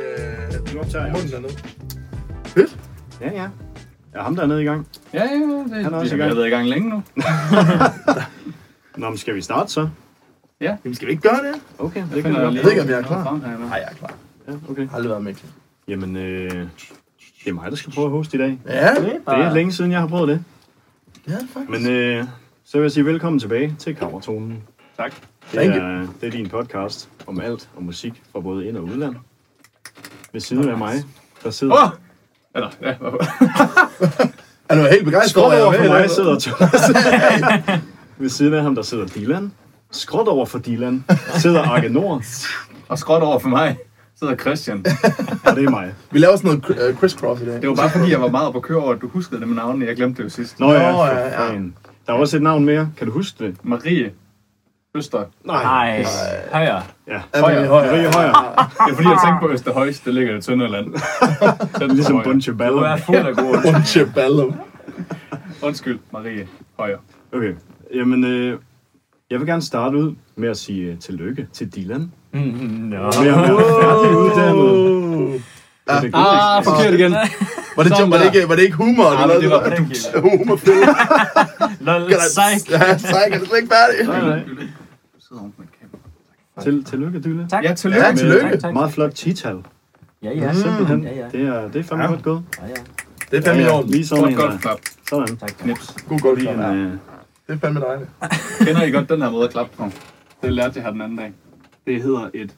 øh, tager jeg. Munden er nede. Ja, ja. Ja, ham der er nede i gang. Ja, ja, det, Han er også i vi gang. har været i gang længe nu. Nå, men skal vi starte så? Jamen, skal vi ikke gøre det? Okay, det Jeg kan finder jeg lige godt. ved ikke, om jeg er noget klar. frem her nu. Nej, jeg er klar. Ja, okay. Jeg har aldrig været med. Kim. Jamen, øh, det er mig, der skal prøve at hoste i dag. Ja, Det er længe siden, jeg har prøvet det. ja faktisk. Men øh, så vil jeg sige velkommen tilbage til Kammertonen. Tak. Det Thank er, det er din podcast om alt og musik fra både ind- og udland. Ved siden af mig, der sidder... Åh! Eller, ja, Er du helt begejstret? Skråt over jeg er for med, mig eller hvad? sidder Thomas. Ved siden af ham, der sidder Dylan. Skråt over for Dylan sidder Arke Nord, og skråt over for mig sidder Christian. og det er mig. Vi laver sådan noget øh, crisscross i dag. Det var bare fordi, jeg var meget på køre over, at du huskede det med navnene. Jeg glemte det jo sidst. Nå ja, Nå, for ja, ja. fanden. Der er også et navn mere. Kan du huske det? Marie, Øster. Nej, højere. Ja. Er vi Højre. højere? Marie Højer, Det er fordi, jeg tænkte på Østerhøjs, det ligger i Tønderland. Den ligesom tror jeg. Bunche Du er Baller. fuld af gode. Bunche baller. Undskyld, Marie Højer. Okay, jamen, øh, jeg vil gerne starte ud med at sige øh, tillykke til Dylan. Nå. Med at være færdiguddannet. Det er det gode. Ah, forkert igen. Var det, Sådan var det, der. ikke, var det ikke humor? Ah, men det var prank. humorfilm. Lol, sejk. Ja, sejk, er det slet ikke færdig? Nej, nej. Du sidder oven på mit kamera. Til, tillykke, Dylan. Tak. Ja, tillykke. Ja, tillykke. Tak, tak. Meget flot tital. Ja, ja. Simpelthen. Ja, ja. Det er, det er fandme Ja. godt gået. Ja, ja. Det er fandme i orden. Lige sådan Godt, en. godt, der. klap. Sådan. Tak, tak. Knips. God godt Lige en, ja. øh, Det er fandme dejligt. Kender I godt den her måde at klappe på? Det lærte jeg her den anden dag. Det hedder et...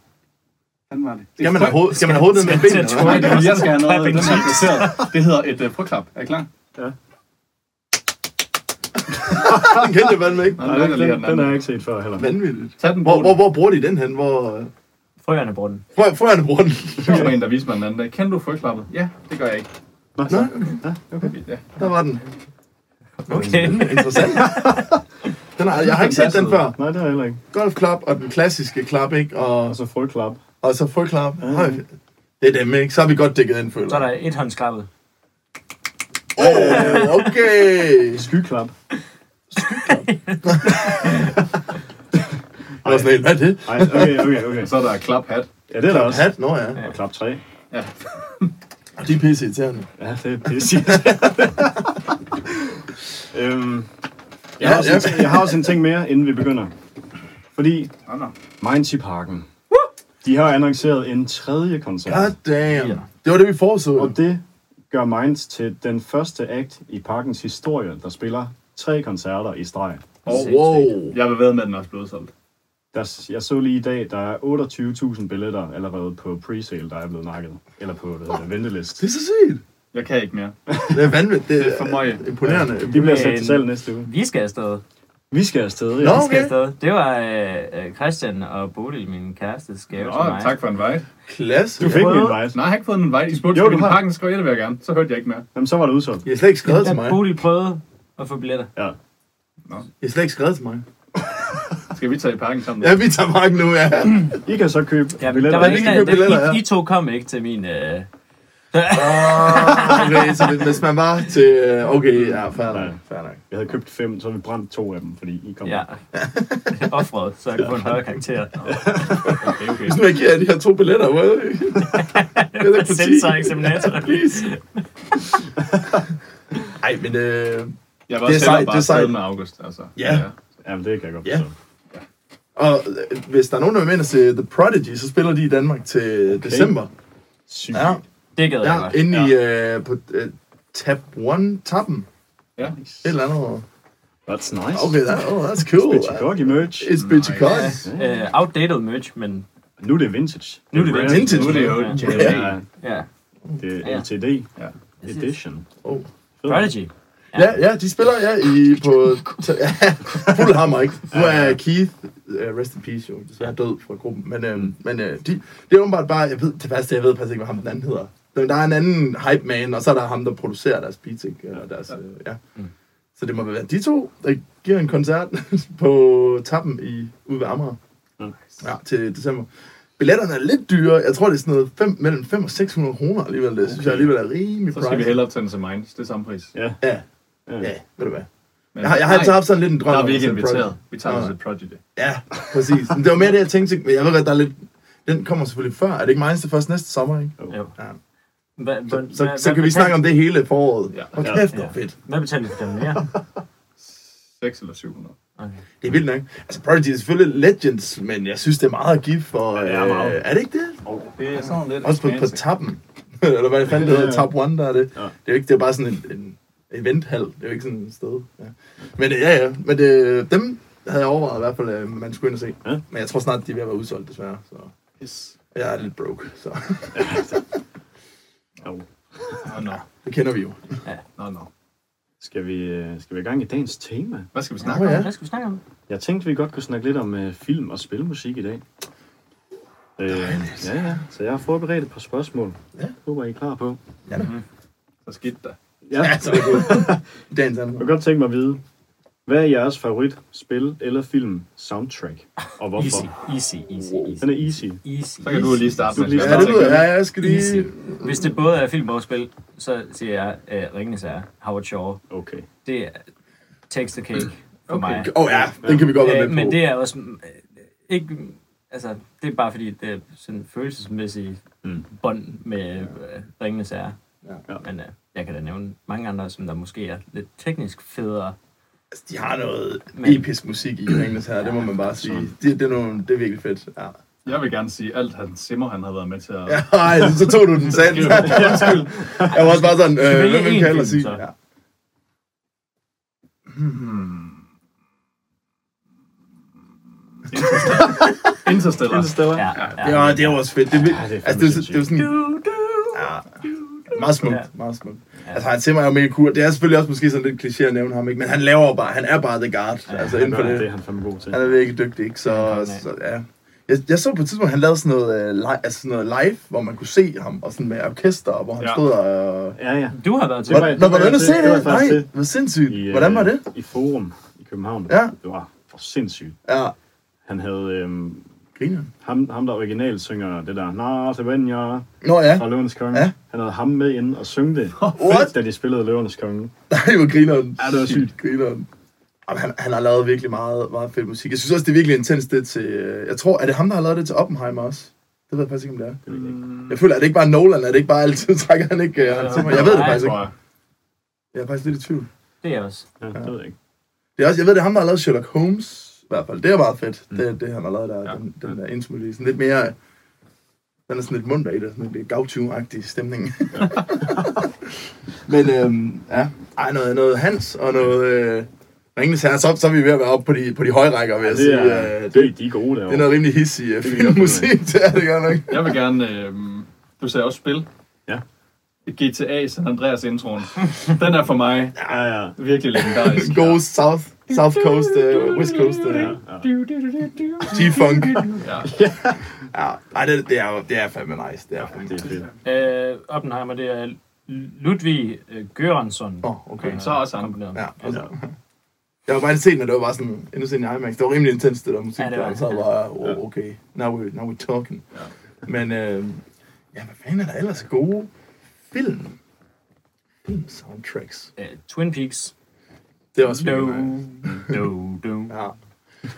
Hvordan var det? det Skal man have hovedet, skal man have hovedet ned med benene? til eller Nej, hvad? det er, fordi, jeg skal have noget. Clapping Den er placeret. Det hedder et uh, frøklap. Er I klar? Den kendte jeg fandme ikke. Nå, Nej, den er den, lige den, den den har anden. jeg ikke set før heller. Vanvittigt. Tag den på. Hvor, hvor, hvor bruger de den hen? Hvor, øh, Frøerne bruger den. hvor, hvor er den bruger den? Der var en, der viste mig den anden dag. Kender du frøklappet? Ja, det gør jeg ikke. Nå, Nå, Ja. der var den. Okay. Interessant. Den har, jeg har ikke set den før. Nej, det har jeg heller ikke. Golfklap og den klassiske klap, ikke? Og, Og så frøklap. og så frøklap. Høj. Det er dem, ikke? Så har vi godt dækket den, føler Så er der et håndskrabbet. Åh, okay. Skyklap. Det var sådan helt, hvad er det? Nej, okay, okay, okay. Så er der klaphat. Ja, det er der også. Hat? Nå ja. Og klap 3. Ja. De er pisse irriterende. Ja, det er pisse. øhm, jeg, Ja, har også en ja. ting, jeg har også en ting mere, inden vi begynder. Fordi Nå, nå. Minds i Parken, de har annonceret en tredje koncert. God damn. Det var det, vi foreså. Og det gør Minds til den første act i parkens historie, der spiller tre koncerter i streg. Og Wow. jeg vil ved med, at den også blev udsolgt. Der, jeg så lige i dag, der er 28.000 billetter allerede på presale, der er blevet nakket. Eller på hvad hedder det, ventelist. Det er så sygt. Jeg kan ikke mere. Det er vanvittigt. Det Det er for meget. er imponerende. De bliver sat til salg næste uge. Vi skal afsted. Vi skal afsted, Nå. ja. Vi skal Okay. afsted. Det var øh, øh, Christian og Bodil, min kæreste, skæve Nå, til mig. tak for en vej. Klasse. Du fik min Prøv. vejs. Nej, jeg har ikke fået en vej. I spurgte, Jo, jo, du du har. pakken skrev jeg, det vil jeg gerne. Så hørte jeg ikke mere. Jamen, så var det udsolgt. Jeg har slet ikke skrevet til mig. Ja, Bodil prøvede at få billetter. Ja. Jeg har slet ikke skrevet til mig. Skal vi tage i parken sammen? Ja, vi tager mark nu, ja. I kan så købe Ja, men der billetter. var vi en skal af købe billetter, dem, ja. I, I to kom ikke til min... Øh, Okay, så det- hvis man var til... Okay, ja, fair nok. Ja. Fair nok. Jeg havde købt fem, så havde vi brændt to af dem, fordi I kom. ja, offret, så jeg kunne få en højere karakter. Okay, okay. Hvis nu jeg giver jer de her to billetter, hvad? Det er Sensor eksaminator. Ej, men øh, Jeg var Det er også hellere sejt, bare det er afsted sejt. med August. Altså. Ja. Jamen, det kan jeg godt Ja. forstå. og øh, hvis der er nogen, der vil med til The Prodigy, så spiller de i Danmark til december. Sygt. Ja, Det gad ja jeg godt. inde i øh, på øh, Tab 1 tappen ja. Et eller andet. That's nice. Okay, that, oh, that's cool. Bitchy merch. It's bitchy Nice. cock. Øh, outdated merch, men Nu er det vintage. Nu er det brand. vintage. Nu er det jo Ja. Det er, ja. det Ja. er LTD Ja. edition. Oh. Fed. Prodigy. Ja, ja, de spiller ja, i, på t- ja, fuld hammer, ikke? Nu er Keith, uh, rest in peace jo, desværre død fra gruppen, men, øh, men øh, de, det er åbenbart bare, jeg ved, det værste jeg ved faktisk ikke, hvad ham den anden hedder. Men der er en anden hype man, og så er der ham, der producerer deres beats, ikke? Eller deres, øh, ja. Mm. Så det må være de to, der giver en koncert på tappen i, ude ved Amager. Mm. Ja, til december. Billetterne er lidt dyre. Jeg tror, det er sådan noget fem, mellem 5 og 600 kroner alligevel. Det synes jeg alligevel er rimelig Så skal vi pricey. hellere tage den til Minds. Det er samme pris. Ja. Ja, Ja. ja, ved du hvad. Men, Jeg har, jeg har altid haft sådan lidt en drøm Der er om vi at ikke se inviteret. Prodigy. Vi tager Nå, os nej. et Prodigy. Ja, præcis. Men det var mere det, jeg tænkte. Men jeg ved godt, der er lidt... Den kommer selvfølgelig før. Er det ikke mig, der først næste sommer, ikke? Jo. Ja. Hva, hva, Så, så, hva- så hvad kan vi betalte- snakke om det hele foråret. Ja. Og Ja. kæft, hvor Ja. fedt. Hvad betalte du for den mere? 6 eller 700. Okay. Det er vildt nok. Altså, Prodigy er selvfølgelig legends, men jeg synes, det er meget at give for... Ja, det er meget. Øh, er det ikke det? Det er sådan lidt... Også på, på fancy. tappen. Eller hvad fanden det hedder, top one, der er det. Ja. Ja. Det er jo ikke, det er jo bare sådan en, en eventhal. Det er jo ikke sådan et sted. Ja. Men øh, ja, ja. Men øh, dem havde jeg overvejet i hvert fald, at man skulle ind og se. Ja. Ja. Men jeg tror snart, de er ved at være udsolgt, desværre. Så Yes. jeg er lidt broke, så Jo. Nå, nå. det kender vi jo. Nå, nå. Skal vi, øh, skal vi i gang i dagens tema? Hvad skal vi snakke Nå ja, Hvad skal vi snakke om? Jeg tænkte, vi godt kunne snakke lidt om øh, film og spilmusik i dag. Øh, ja, ja. Så jeg har forberedt et par spørgsmål. Ja. Håber, I er klar på. om? Så skidt da. Ja. ja så er det godt. Dagens Jeg anden. kunne godt tænke mig at vide, hvad er jeres favorit spil eller film soundtrack? Og Easy, hvorfor? easy, easy, easy. Den er easy. easy. Så kan du lige starte Du med lige Ja, det ved jeg. Ja, jeg skal Easy. lige... Hvis det både er film og spil, så siger jeg uh, Ringenes Herre, Howard Shaw. Okay. Det er takes the cake for Okay. mig. Åh oh, ja, den kan vi godt være med Øh, på. men det er også mm, øh, ikke... mm, Altså, det er bare fordi, det er sådan følelsesmæssige Mm. bånd med øh, Ringenes Herre. Ja. Ja. Men øh, jeg kan da nævne mange andre, som der måske er lidt teknisk federe. Altså, de har noget Men- episk musik i Ringens her, det må man bare sige. Det, det, er, nogle, det er virkelig fedt. Ja. Jeg vil gerne sige, alt han Simmer, han har været med til at... Ja, ej, så tog du den selv. Undskyld. Jeg var også bare sådan, Skal vi øh, hvem vælge vil én kalde og film, sige? så? Ja. Interstellar. Interstellar. Ja, Ja, det er jo også fedt. Det, vil, Ja, det er altså, det, er, fandme det er sådan... Du, du. Ja, meget smukt, Ja. meget smukt. Ja. Altså, han Timmer er jo mega cool. Det er selvfølgelig også måske sådan lidt kliché at nævne ham, ikke? men han laver bare, han er bare The Guard, ja, altså Han inden for gør det. det er det. han fandme god til. Han er virkelig dygtig, ikke? Så, Ja. så ja. Jeg, jeg så på et tidspunkt, han lavede sådan noget, øh, live, altså sådan noget live, hvor man kunne se ham, og sådan med orkester, og hvor han Ja. stod og... Ja, ja. Du har været til Det var- Nå, var du inde og se det var det? faktisk Nej, det. hvor sindssygt. I, øh, Hvordan var det? I Forum i København. Ja. Det var for sindssygt. Ja, Han havde øhm, griner. ham, ham, der originalt synger det der Nah, til venner Nå ja. fra Løvens Konge. Ja. Han havde ham med ind og synge det, What? da de spillede Løvens Konge. Nej, hvor grineren. Ja, det var sygt. Grineren. Jamen, han, han har lavet virkelig meget, meget fed musik. Jeg synes også, det er virkelig intens det til... øh, Jeg tror, er det ham, der har lavet det til Oppenheimer også? Det ved jeg faktisk ikke, om det er. Det ved jeg ikke. Jeg føler, er det ikke bare Nolan? Er det ikke bare altid, trækker han ikke øh, han til mig? Jeg ved det faktisk ikke. tror jeg. Jeg er faktisk lidt i tvivl. Det er også. Ja, det ved jeg ikke. Det er også, jeg ved, det er ham, der har lavet Sherlock Holmes. I hvert fald, det er meget fedt. Mm. Det, det han har lavet der, Ja. den, den der intromelodi. Sådan lidt mere... Den er sådan lidt munter i det. Sådan lidt gavtyve-agtig stemning. Men øhm, ja, ej, noget, noget Hans og noget øh, Ringnes Herre. Så, så er vi ved at være oppe på de, på de høje rækker, vil jeg Det sige. er, Øh, det, de er gode det er derovre. noget rimelig hissig øh, Det kan jeg godt filmmusik, det er det godt nok. Jeg vil gerne... Øh, du sagde også spil. Ja. GTA San Andreas introen. Den er for mig Ja, ja. virkelig legendarisk. Go South, South Coast, øh, West Coast, øh, ja, ja. G-Funk. Ja. Ja, ej, det, det, er, jo- det er fandme nice. Det er fandme Det er fedt. Øh, Oppenheimer, det er Ludvig øh, Gørensson. Åh, okay. Øh, Så også ham. kombineret. Ja, og så- Ja. Jeg var bare inde set, når det var bare sådan, endnu set i IMAX. Det var rimelig intenst, det der musik. Ja, Ja, det det var var. det. Så var jeg bare, oh, okay, now we now we're talking. Ja. Men, øh, ja, hvad fanden er der ellers gode film? Film soundtracks. Øh, Twin Peaks. Det er også Do, virkelig nice. do, do. Ja.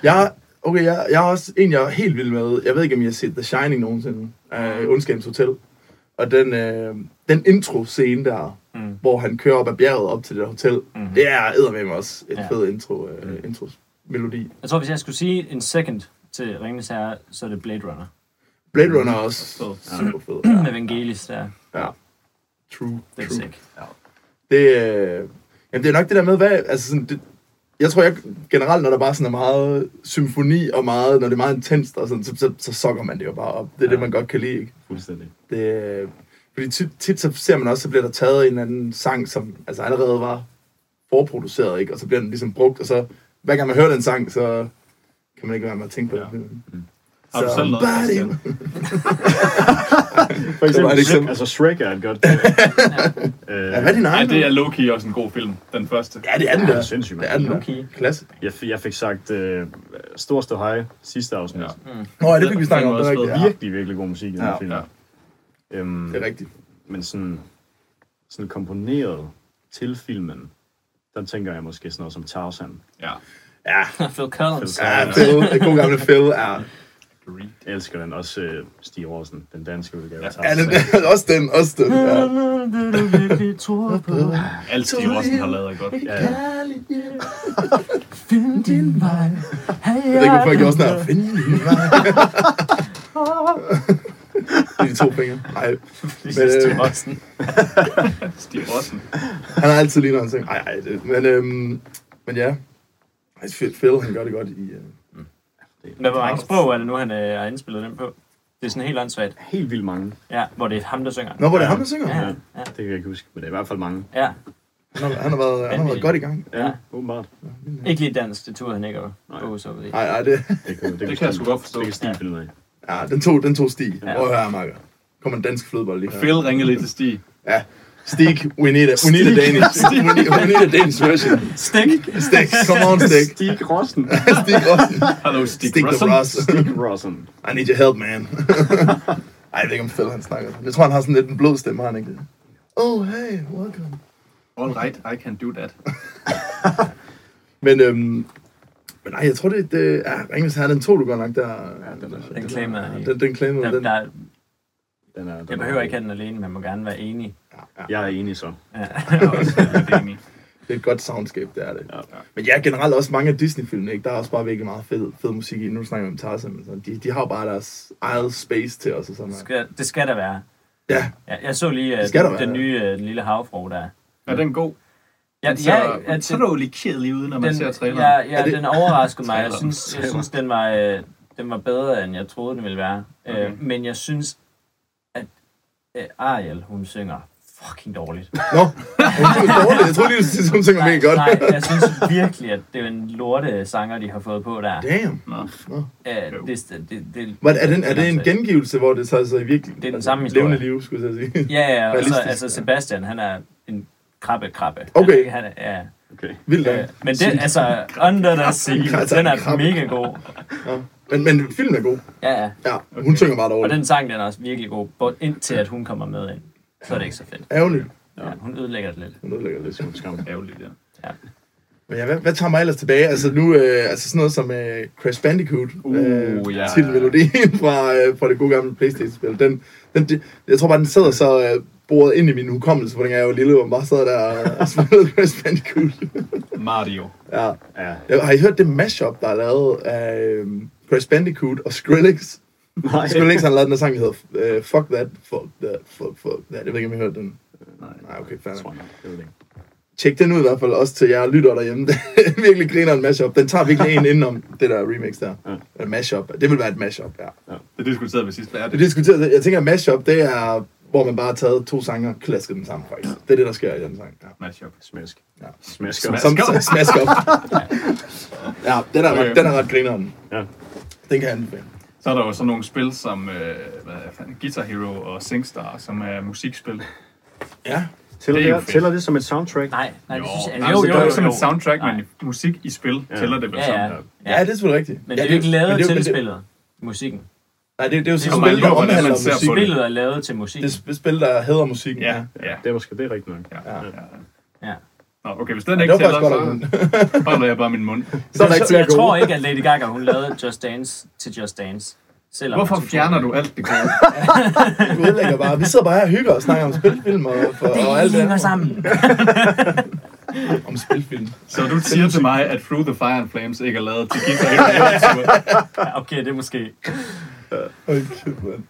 Jeg, okay, jeg, jeg er også en, jeg er helt vild med. Jeg ved ikke, om jeg har set The Shining nogensinde. Øh, Undskabens Hotel. Og den, øh, den intro-scene der, Mm. mm. hvor han kører op ad bjerget op til det der hotel, mm. det er eddermame også et Ja. ja. fed intro, øh, intro-melodi. Jeg tror, hvis jeg skulle sige en second til Ringenes Herre, så er det Blade Runner. Blade Runner er også Fed. super fed. Hmm. Ja. Evangelis, der er ja. True, den true. sick. Det, øh, jamen, det er nok det der med, hvad, altså sådan, det, jeg tror jeg generelt, når der bare sådan er meget symfoni og meget, når det er meget intenst, og sådan, så, så, så sokker man det jo bare op. Det er ja. det, man godt kan lide. Ikke? Fuldstændig. Det, øh, fordi tit, tit, så ser man også, så bliver der taget en eller anden sang, som altså allerede var forproduceret, ikke? og så bliver den ligesom brugt, og så hver gang man hører den sang, så kan man ikke være med at tænke på Ja. den. Har du selv noget? Somebody- Christian? For var eksempel, et Shrek, eksempel. altså Shrek er et godt billede. øh, Ja, hvad er din Ej, egen? det er Loki også en god film. Den første. Ja, det er den det der. er sindssygt, Det er den mand. der. Okay. Klasse. Jeg, f- jeg fik sagt øh, stor stå hej sidste afsnit. Ja. Ja. Nå, ja, det fik vi snakket om. Det er rigtigt. Ja, Virkelig, virkelig god musik i den Ja, her film. ja. Øhm, det er rigtigt. men sådan, sådan komponeret til filmen, der tænker jeg måske sådan noget som Tarzan. Ja. Ja, Phil Collins. Phil Ja, Phil, den gode gamle Phil, ja. Reed. Jeg elsker den også øh, Stig Aarhusen, den danske udgave. Ja, tager Ja, sig- den, også den, også den. Ja. Det du virkelig tror på. Alt Steve Rossen har lavet er godt. ja, ja. Find din vej. Hey, Jeg ved ikke, hvorfor jeg gjorde sådan her. Find din vej. Det er de to fingre. Nej. Men, øh, Stig Rossen. han har altid lignet en ting. Nej, nej. det- Men, øhm, men ja. Ej, Phil, Phil, han gør det godt i... Øh, Men hvor mange sprog er det nu, han øh, har indspillet den på? Det er sådan helt åndssvagt. Helt vildt mange. Ja, hvor det er ham, der synger. Nå, hvor er det ham, der synger? Ja, Ja, ja. det kan jeg ikke huske, men det er i hvert fald mange. Ja, Han, har, han, har været, han har været godt i gang. Ja, åbenbart. ikke lige dansk, det turde han ikke at Nej. gå så ud i. Nej, nej, det... Det kan, det Det kan jeg sgu Stig- godt forstå. Det kan Stig finde ud af. Ja, den tog, den tog Stig. Ja. Prøv at høre, her, Marker. Kommer en dansk flødebold lige her. Phil ringer lidt til Stig. Ja. Stig, we need a, we need a Danish. We need, we need a Danish version. Stik! Stig, come on, Stig. Stig Rossen. Stig Rossen. Hallo, Stig, Stig the Rossen. Ross. Stig Rossen. I need your help, man. Ej, jeg ved ikke, om Phil han snakker. Jeg tror, han har sådan lidt en blød stemme, har han ikke det? Oh, hey, welcome. All right, I can do that. Men, øhm, men nej, jeg tror, det, det er Ringens Herre, den tog du godt nok der. Ja, den er- Den claimer jeg Den, den claimer Der, den. der, Den er, den jeg er- behøver ikke have den alene, man må gerne være enig. Jeg er enig så. Ja. Jeg er også lidt enig. Det er et godt soundscape, det er det. Ja. Men ja, generelt også mange af Disney-filmene, ikke? der er også bare virkelig meget fed, fed musik i. Nu snakker vi om Tarzan, men sådan, de, de har jo bare deres eget space til os og sådan Det noget. skal, det skal der være. Ja, Ja, jeg så lige uh, Det skal der den, være, den nye uh, lille havfru der. Er den god? Ja, Den ser ja, ja, den, utrolig kedelig ud, når man ser den, traileren. ja, Er ja, det- den overraskede mig. Jeg Traileren. synes, jeg Trailer. synes den, var, øh, den var bedre, end jeg troede, den ville være. Okay. Okay. Øh, men jeg synes, at øh, Ariel, hun synger fucking dårligt. nå. Hun synger dårligt. Jeg tror lige, du synes, hun synger mega godt. nej, jeg synes virkelig, at det er en lorte sanger, de har fået på der. Damn. Nå. Øh, Jo. det, det, det, det, Hvad, er, den, er det en gengivelse, hvor det så altså, virkelig... Det er den samme historie. historie. Levende liv, skulle jeg så sige. Ja, ja, og så, Realistisk, altså ja. Sebastian, han er en krabbe krabbe. Okay. Han, han er, ja. Okay. Vildt nok. Øh, men det, altså, Under the Sea, Altså, den er krabbe. mega god. Ja. Men, men filmen er god. Ja, ja. Ja, okay. hun synger bare Og dårligt. den sang, den er også virkelig god, både indtil at hun kommer med ind. Så er det ikke så fedt. Ærgerligt. Ja, hun ødelægger det lidt. Hun ødelægger Det er lidt. sgu en skam. Ærgerligt, ja. Men ja, hvad, hvad tager mig ellers tilbage? Altså nu, øh, altså sådan noget som øh, Crash Bandicoot, Uh, øh, ja. titelmelodien fra, øh, fra det gode gamle Playstation-spil. Den, den, det, jeg tror bare, den sidder så øh, boret ind i min hukommelse, for dengang jeg var lille, og bare sad der og- og spillede Crash Bandicoot. Mario. ja. Ja. Jeg, Øh, har I hørt det mashup, der er lavet af øh, Crash Bandicoot og Skrillex? Nej. Skrillex har lavet den der sang, der hedder øh, Fuck That, Fuck That, Fuck, fuck That. Jeg ved ikke, om I har hørt den. Nej. Nej, okay, fair nok. Tror jeg. Jeg ved det ikke. Tjek den ud i hvert fald, også til jer lytter derhjemme. Det er virkelig griner en mashup. Den tager virkelig en indenom det der remix der. Ja. Ja. mashup. Det vil være et mashup, ja. Det diskuterede vi sidst. Hvad er Det det? diskuterede, jeg tænker, at mashup, det er, hvor man bare har taget to sanger og klasket dem sammen, faktisk. Det er det, der sker i den sang. Ja. Matchup. Smask. Ja. Smask. Smask. Som, Smask som up. smask up. ja, den er, ret, Okay. den er ret grineren. Ja. Den kan jeg anbefale. Så er der jo sådan nogle spil som øh, hvad er fanden, Guitar Hero og SingStar, som er musikspil. Ja. Tæller Det er jo det, fedt. tæller det som et soundtrack? Nej, nej, det synes jeg... jo, Altså, jo, jo, jo, som et soundtrack, men musik i spil Ja. tæller det vel Ja, som. ja. Ja, det er selvfølgelig rigtigt. Men ja, det er jo ikke men lavet det er jo- til men det- spillet, musikken. Nej, det, det er jo Det sådan er et jo spil, mange der år, hvordan omhandler man ser på musik. det. Spillet er lavet til musikken. Det er et spil, der hedder musikken. Ja, ja, Det er måske det er rigtigt nok. ja. Ja. ja. Ja. Nå, okay, hvis den Det ikke var faktisk tæller, godt, så at holder jeg bare min mund. Så er der ikke jeg, flere gode. tror ikke, at Lady Gaga hun lavede Just Dance til Just Dance. Selvom Hvorfor hun- fjerner du alt det gode? Du ødelægger bare. Vi sidder bare her og hygger og snakker om spilfilm og, og, og alt det Det hænger andet. sammen. Om spilfilm. Så du siger til mig, at Through the Fire and Flames ikke er lavet til Guitar Hero? Ja, Okay, det er måske... Hold kæft, mand.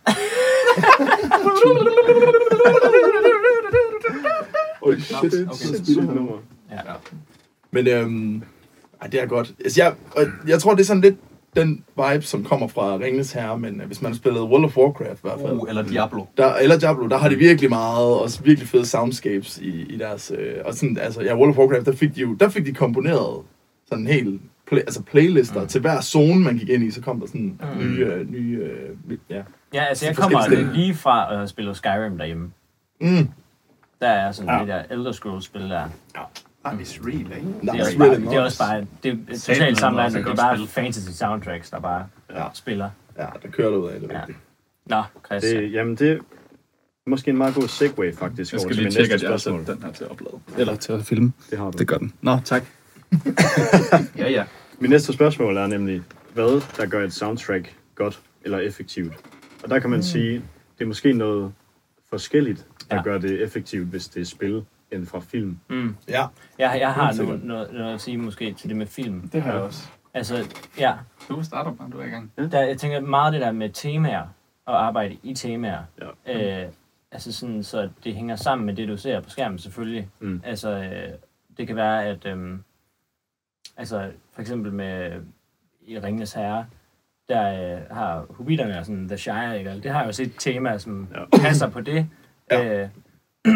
Oj, shit, okay. shit, shit. nummer. Men øhm, ej, det er godt. Altså, jeg, og jeg tror, det er sådan lidt den vibe, som kommer fra Ringens Herre, men øh, hvis man har spillet World of Warcraft i hvert fald, Uh, eller Diablo. der, eller Diablo, der har de virkelig meget, også virkelig fede soundscapes i, i deres, øh, og sådan, altså, ja, World of Warcraft, der fik de jo, der fik de komponeret sådan en hel, play, altså playlister mm. til hver zone, man gik ind i, så kom der sådan mm. nye, øh, nye, øh, ja. Ja, altså jeg Det er forskellige kommer steder. lige fra at have spillet Skyrim derhjemme. Mm. Der er sådan Ja. ja. det der Elder Scrolls-spil der. Ah, it's real, ikke? Nej, Det er, really også bare, det er nice. også bare, det er Satan, totalt det er sammenlandet. også et Det godt er bare spil. fantasy soundtracks, der bare Ja. spiller. Ja, der kører du ud af det. Ja. Ja. Nå, Chris. Det, jamen, det er måske en meget god segue, faktisk. Jeg over skal til lige mit tjekke, at næste jeg har spørgsmål. sendt den her til at oplade. Eller til at filme. Det har du. Det gør den. Nå, tak. ja, ja. Mit næste spørgsmål er nemlig, hvad der gør et soundtrack godt? eller effektivt. Og der kan man mm. sige, det er måske noget forskelligt, der Ja. ja. gør det effektivt, hvis det er spil, end fra film. Mm. Ja. Jeg, jeg har Helt noget, sikkert. noget, noget at sige måske til det med film. Det har jeg også. Altså, ja, Du starter bare, du er i gang. der, jeg tænker meget det der med temaer, og arbejde i temaer. Ja. Øh, altså sådan, så det hænger sammen med det, du ser på skærmen selvfølgelig. Mm. Altså, øh, det kan være, at øh, altså, for eksempel med øh, i Ringenes Herre, der øh, har hobitterne og sådan The Shire, ikke? Og det har jo også et tema, som ja. Ja. passer på det. Ja. Øh,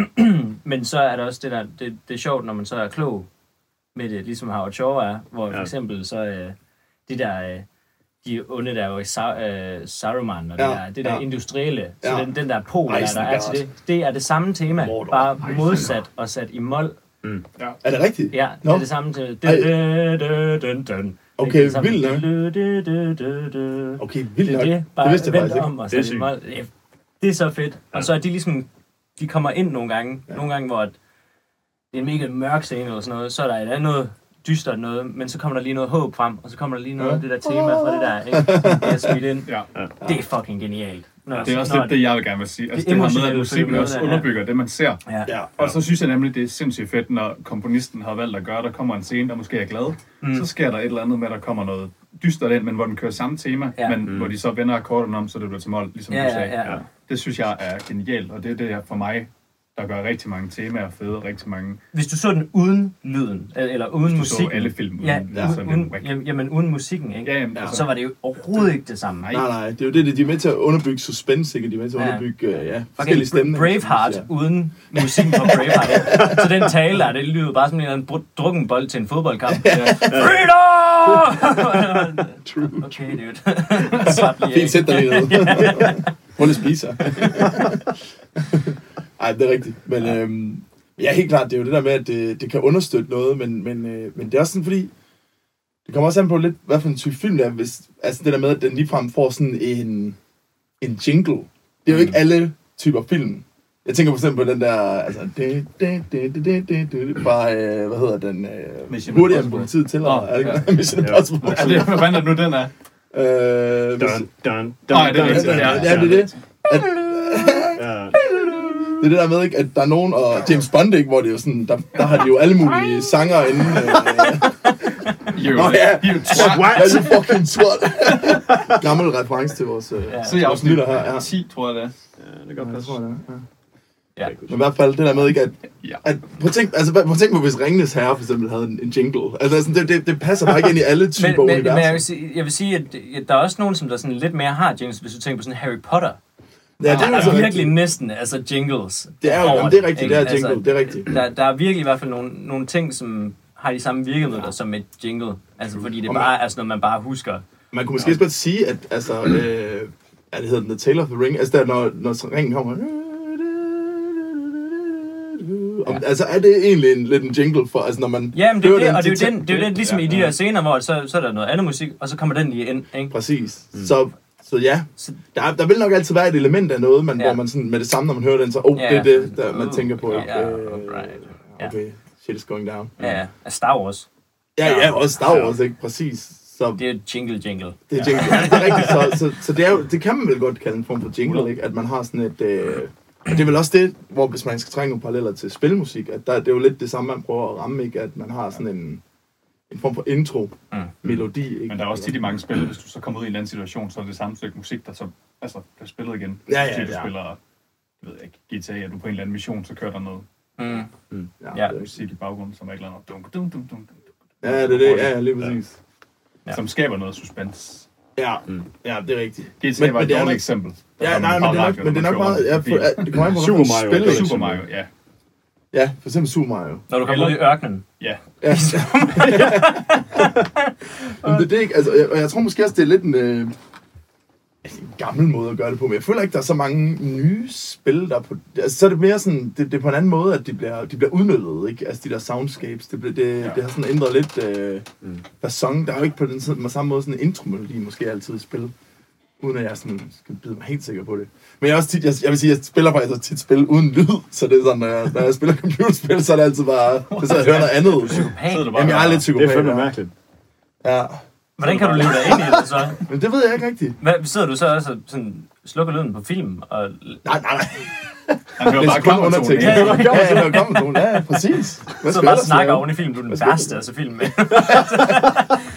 men så er der også det der, det, det er sjovt, når man så er klog med det, ligesom Howard Shaw er, hvor for Ja. eksempel så øh, de der, øh, de onde der er jo i Sa- øh, Saruman, og ja. Ja, det der, det der ja. industrielle, så Ja. den, den der pol, der, der er Isengard. til det, det er det samme tema, Mordor. bare Isengard. modsat og sat i mol. Er det rigtigt? Ja, Nå. det er det samme tema. Dun, Ej. dun, dun, dun, dun. Okay, Det er det vildt samme. nok. Dun, dun, dun, dun, dun. Okay, vildt Det er nok. det, bare det vidste jeg vent faktisk ikke. om og Det er sæt i sygt. mol. Ja, Det er så fedt. Og så er de ligesom, de kommer ind nogle gange, ja. nogle gange, hvor at det er en mega mørk scene eller sådan noget, så er der et andet noget dystert noget, men så kommer der lige noget håb frem, og så kommer der lige noget af det der tema fra det der, ikke? Som bliver smidt ind. Ja. Det er fucking genialt. Når, Det er også når- lidt det, jeg vil gerne vil sige. Altså, det det, her med, at emotionelle musikken følger også med, ja. underbygger det, man ser. Ja. Ja. Og så synes jeg nemlig, det er sindssygt fedt, når komponisten har valgt at gøre, der kommer en scene, der måske er glad. Mm. Så sker der et eller andet med, at der kommer noget dystert ind, men hvor den kører samme tema, Ja. ja. men mm. hvor de så vender akkorderne om, så det bliver til mål, ligesom Ja, du ja, sagde. ja. Det synes jeg er genialt, og det er det jeg- for mig, der gør rigtig mange temaer fede, rigtig mange. Hvis du så den uden lyden, el- eller uden Du så musikken. alle film uden- ja, ja, så er uden, det uden, whack. jamen, jamen, uden musikken, ikke? Ja, jamen, altså- så var det jo overhovedet ikke det samme. Nej. Nej, nej, det er jo det, det- de er med til at underbygge suspense, ikke? De er med til at Ja. underbygge øh, ja, Okay, forskellige stemninger. Braveheart synes jeg. uden musikken fra Braveheart. ikke? Så den tale der, det lyder bare som en eller anden br- drukken bold til en fodboldkamp. Freedom! True. okay, dude. Slap lige Fint, af. sæt dig lige ned. Prøv lige at spise her. Ej, det er rigtigt. Men øhm, ja, helt klart, det er jo det der med, at det, det kan understøtte noget, men, men, øh, men det er også sådan, fordi det kommer også an på lidt, hvad for en type film det er. Hvis, altså det der med, at den ligefrem får sådan en, en jingle. Det er jo ikke alle typer film. Jeg tænker for eksempel på den der, altså, det, det, det, det, det, det, det, fra, øh, hvad hedder den, øh, Mission hurtigere end Impossible. politiet til, Nå, er det ja. ikke Mission Ja. Impossible? Altså, det, hvad fanden er det nu, den er? Øh, hvis- Dun, dun, dun, Nej, det er dun, rigtigt, dun, ja. dun, Ja, det er det. Ja. Det er det der med, ikke, at der er nogen, og James Bond, ikke, hvor det er jo sådan, der, der har de jo alle mulige sanger inden. Øh, Jo, Nå, ja. jo twat. hvad er det fucking sort? Gammel reference til vores... Øh, ja. Så er jeg afsnit Lytter her, ja. 10, tror jeg det er. Ja, det kan godt passe. Ja. Men i hvert fald det der med, ikke, at, Ja. at prøv, at tænk, altså, hvad- prøv at tænk på, hvis Ringenes Herre for eksempel havde en, en jingle. Altså sådan, det, det, det passer bare ikke ind i alle typer Men, men, men jeg, universer. vil sige, jeg vil sige, at øh, der er også nogen, som der sådan lidt mere har jingles, hvis du tænker på sådan Harry Potter. ja, det Der er, jo så er rigtigt. virkelig næsten altså jingles. Det er jo, over jamen, det er rigtigt, ikke? det er jingle, det er rigtigt. Der, der er virkelig i hvert fald nogle, nogle ting, som har de samme virkemidler som et jingle. Altså fordi det Og man- bare er sådan noget, man bare husker. Man kunne måske også godt sige, at altså, øh, ja, det hedder den, The Tale of the Ring, altså der, når, når ringen kommer, om, altså er det egentlig en, lidt en jingle for, altså når man Ja, men det er jo hører det, og det er til- jo den, det er jo den, ligesom i de her scener, hvor så, så er der noget andet musik, og så kommer den lige ind, ikke? Præcis. Mm. Så, så ja, Så- der, der vil nok altid være et element af noget, man, Ja. ja. hvor man sådan, med det samme, når man hører den, så, oh, Ja. det er det, der, man Oh, tænker på. ja, øh, alright. Ja. Okay, shit is going down. Ja, ja. Altså Star Wars, Ja, ja, også Star Wars, ikke? Præcis. Så det er jo jingle jingle. Det er jingle. Ja, det er rigtigt. Så, så, så det, er jo, det kan man vel godt kalde en form for jingle, ikke? At man har sådan et... Øh, og det er vel også det, hvor hvis man skal trænge nogle paralleller til spilmusik, at der, det er jo lidt det samme, man prøver at ramme, ikke? At man har sådan en, en form for intro, Mm. melodi, ikke? Men der er også tit i mange spil, hvis du så kommer ud i en eller anden situation, så er det det samme stykke musik, der så altså, bliver spillet igen. Ja, ja, Hvis du ja. spiller, jeg ved ikke, GTA, er du på en eller anden mission, så kører der noget Mm. Ja, det er musik i baggrunden, som er et eller andet. Dum, dum, dum, dum, dum, dum, ja, det er det. Ja, lige præcis. Ja. Som skaber noget suspense. Ja, ja det er rigtigt. GTA Men- men var Mm. et det er dårligt nok- eksempel. Der Ja, kom nej, en men det er nok, radio, men det er nok der meget... kører Ja, rundt for, ja, det kommer an på, Super hvordan spil, Mario er ikke? dårligt. Super Mario, ja. Ja, for eksempel Super Mario. Når du kommer ud i ørkenen. ja. Ja. Jamen, det, er det ikke, altså, jeg, og jeg tror måske også, det er lidt en, øh, altså, en gammel måde at gøre det på, men jeg føler ikke, der er så mange nye spil, der er på... Altså, så er det mere sådan, det, det er på en anden måde, at de bliver, de bliver udnyttet, ikke? Altså, de der soundscapes, det, bliver, det, ja. det har sådan ændret lidt øh, fasong. Der er jo ikke på den side- på samme måde sådan en intromelodi måske altid i spil, uden at jeg sådan skal bide mig helt sikker på det. Men jeg, er også tit, jeg, jeg vil sige, jeg spiller faktisk også tit spil uden lyd, så det er sådan, når jeg, når jeg spiller computerspil, så er det altid bare, så sidder jeg og hører noget andet. Hey, Sidder du bare Jamen, jeg er der- lidt Det psykopat. er fandme ja. mærkeligt. Ja. Hvordan kan du leve dig ind i det så? Men det ved jeg ikke rigtigt. Hvad, sidder du så også og sådan, slukker lyden på film? Og... Nej, nej, nej. Han hører Det bare er kun undertægt. kammertonen. Ja, ikke? ja, ja, ja, ja, ja, præcis. Hvad Så skal bare ellers snakker lave? oven i film, du er den skal jeg værste, altså film.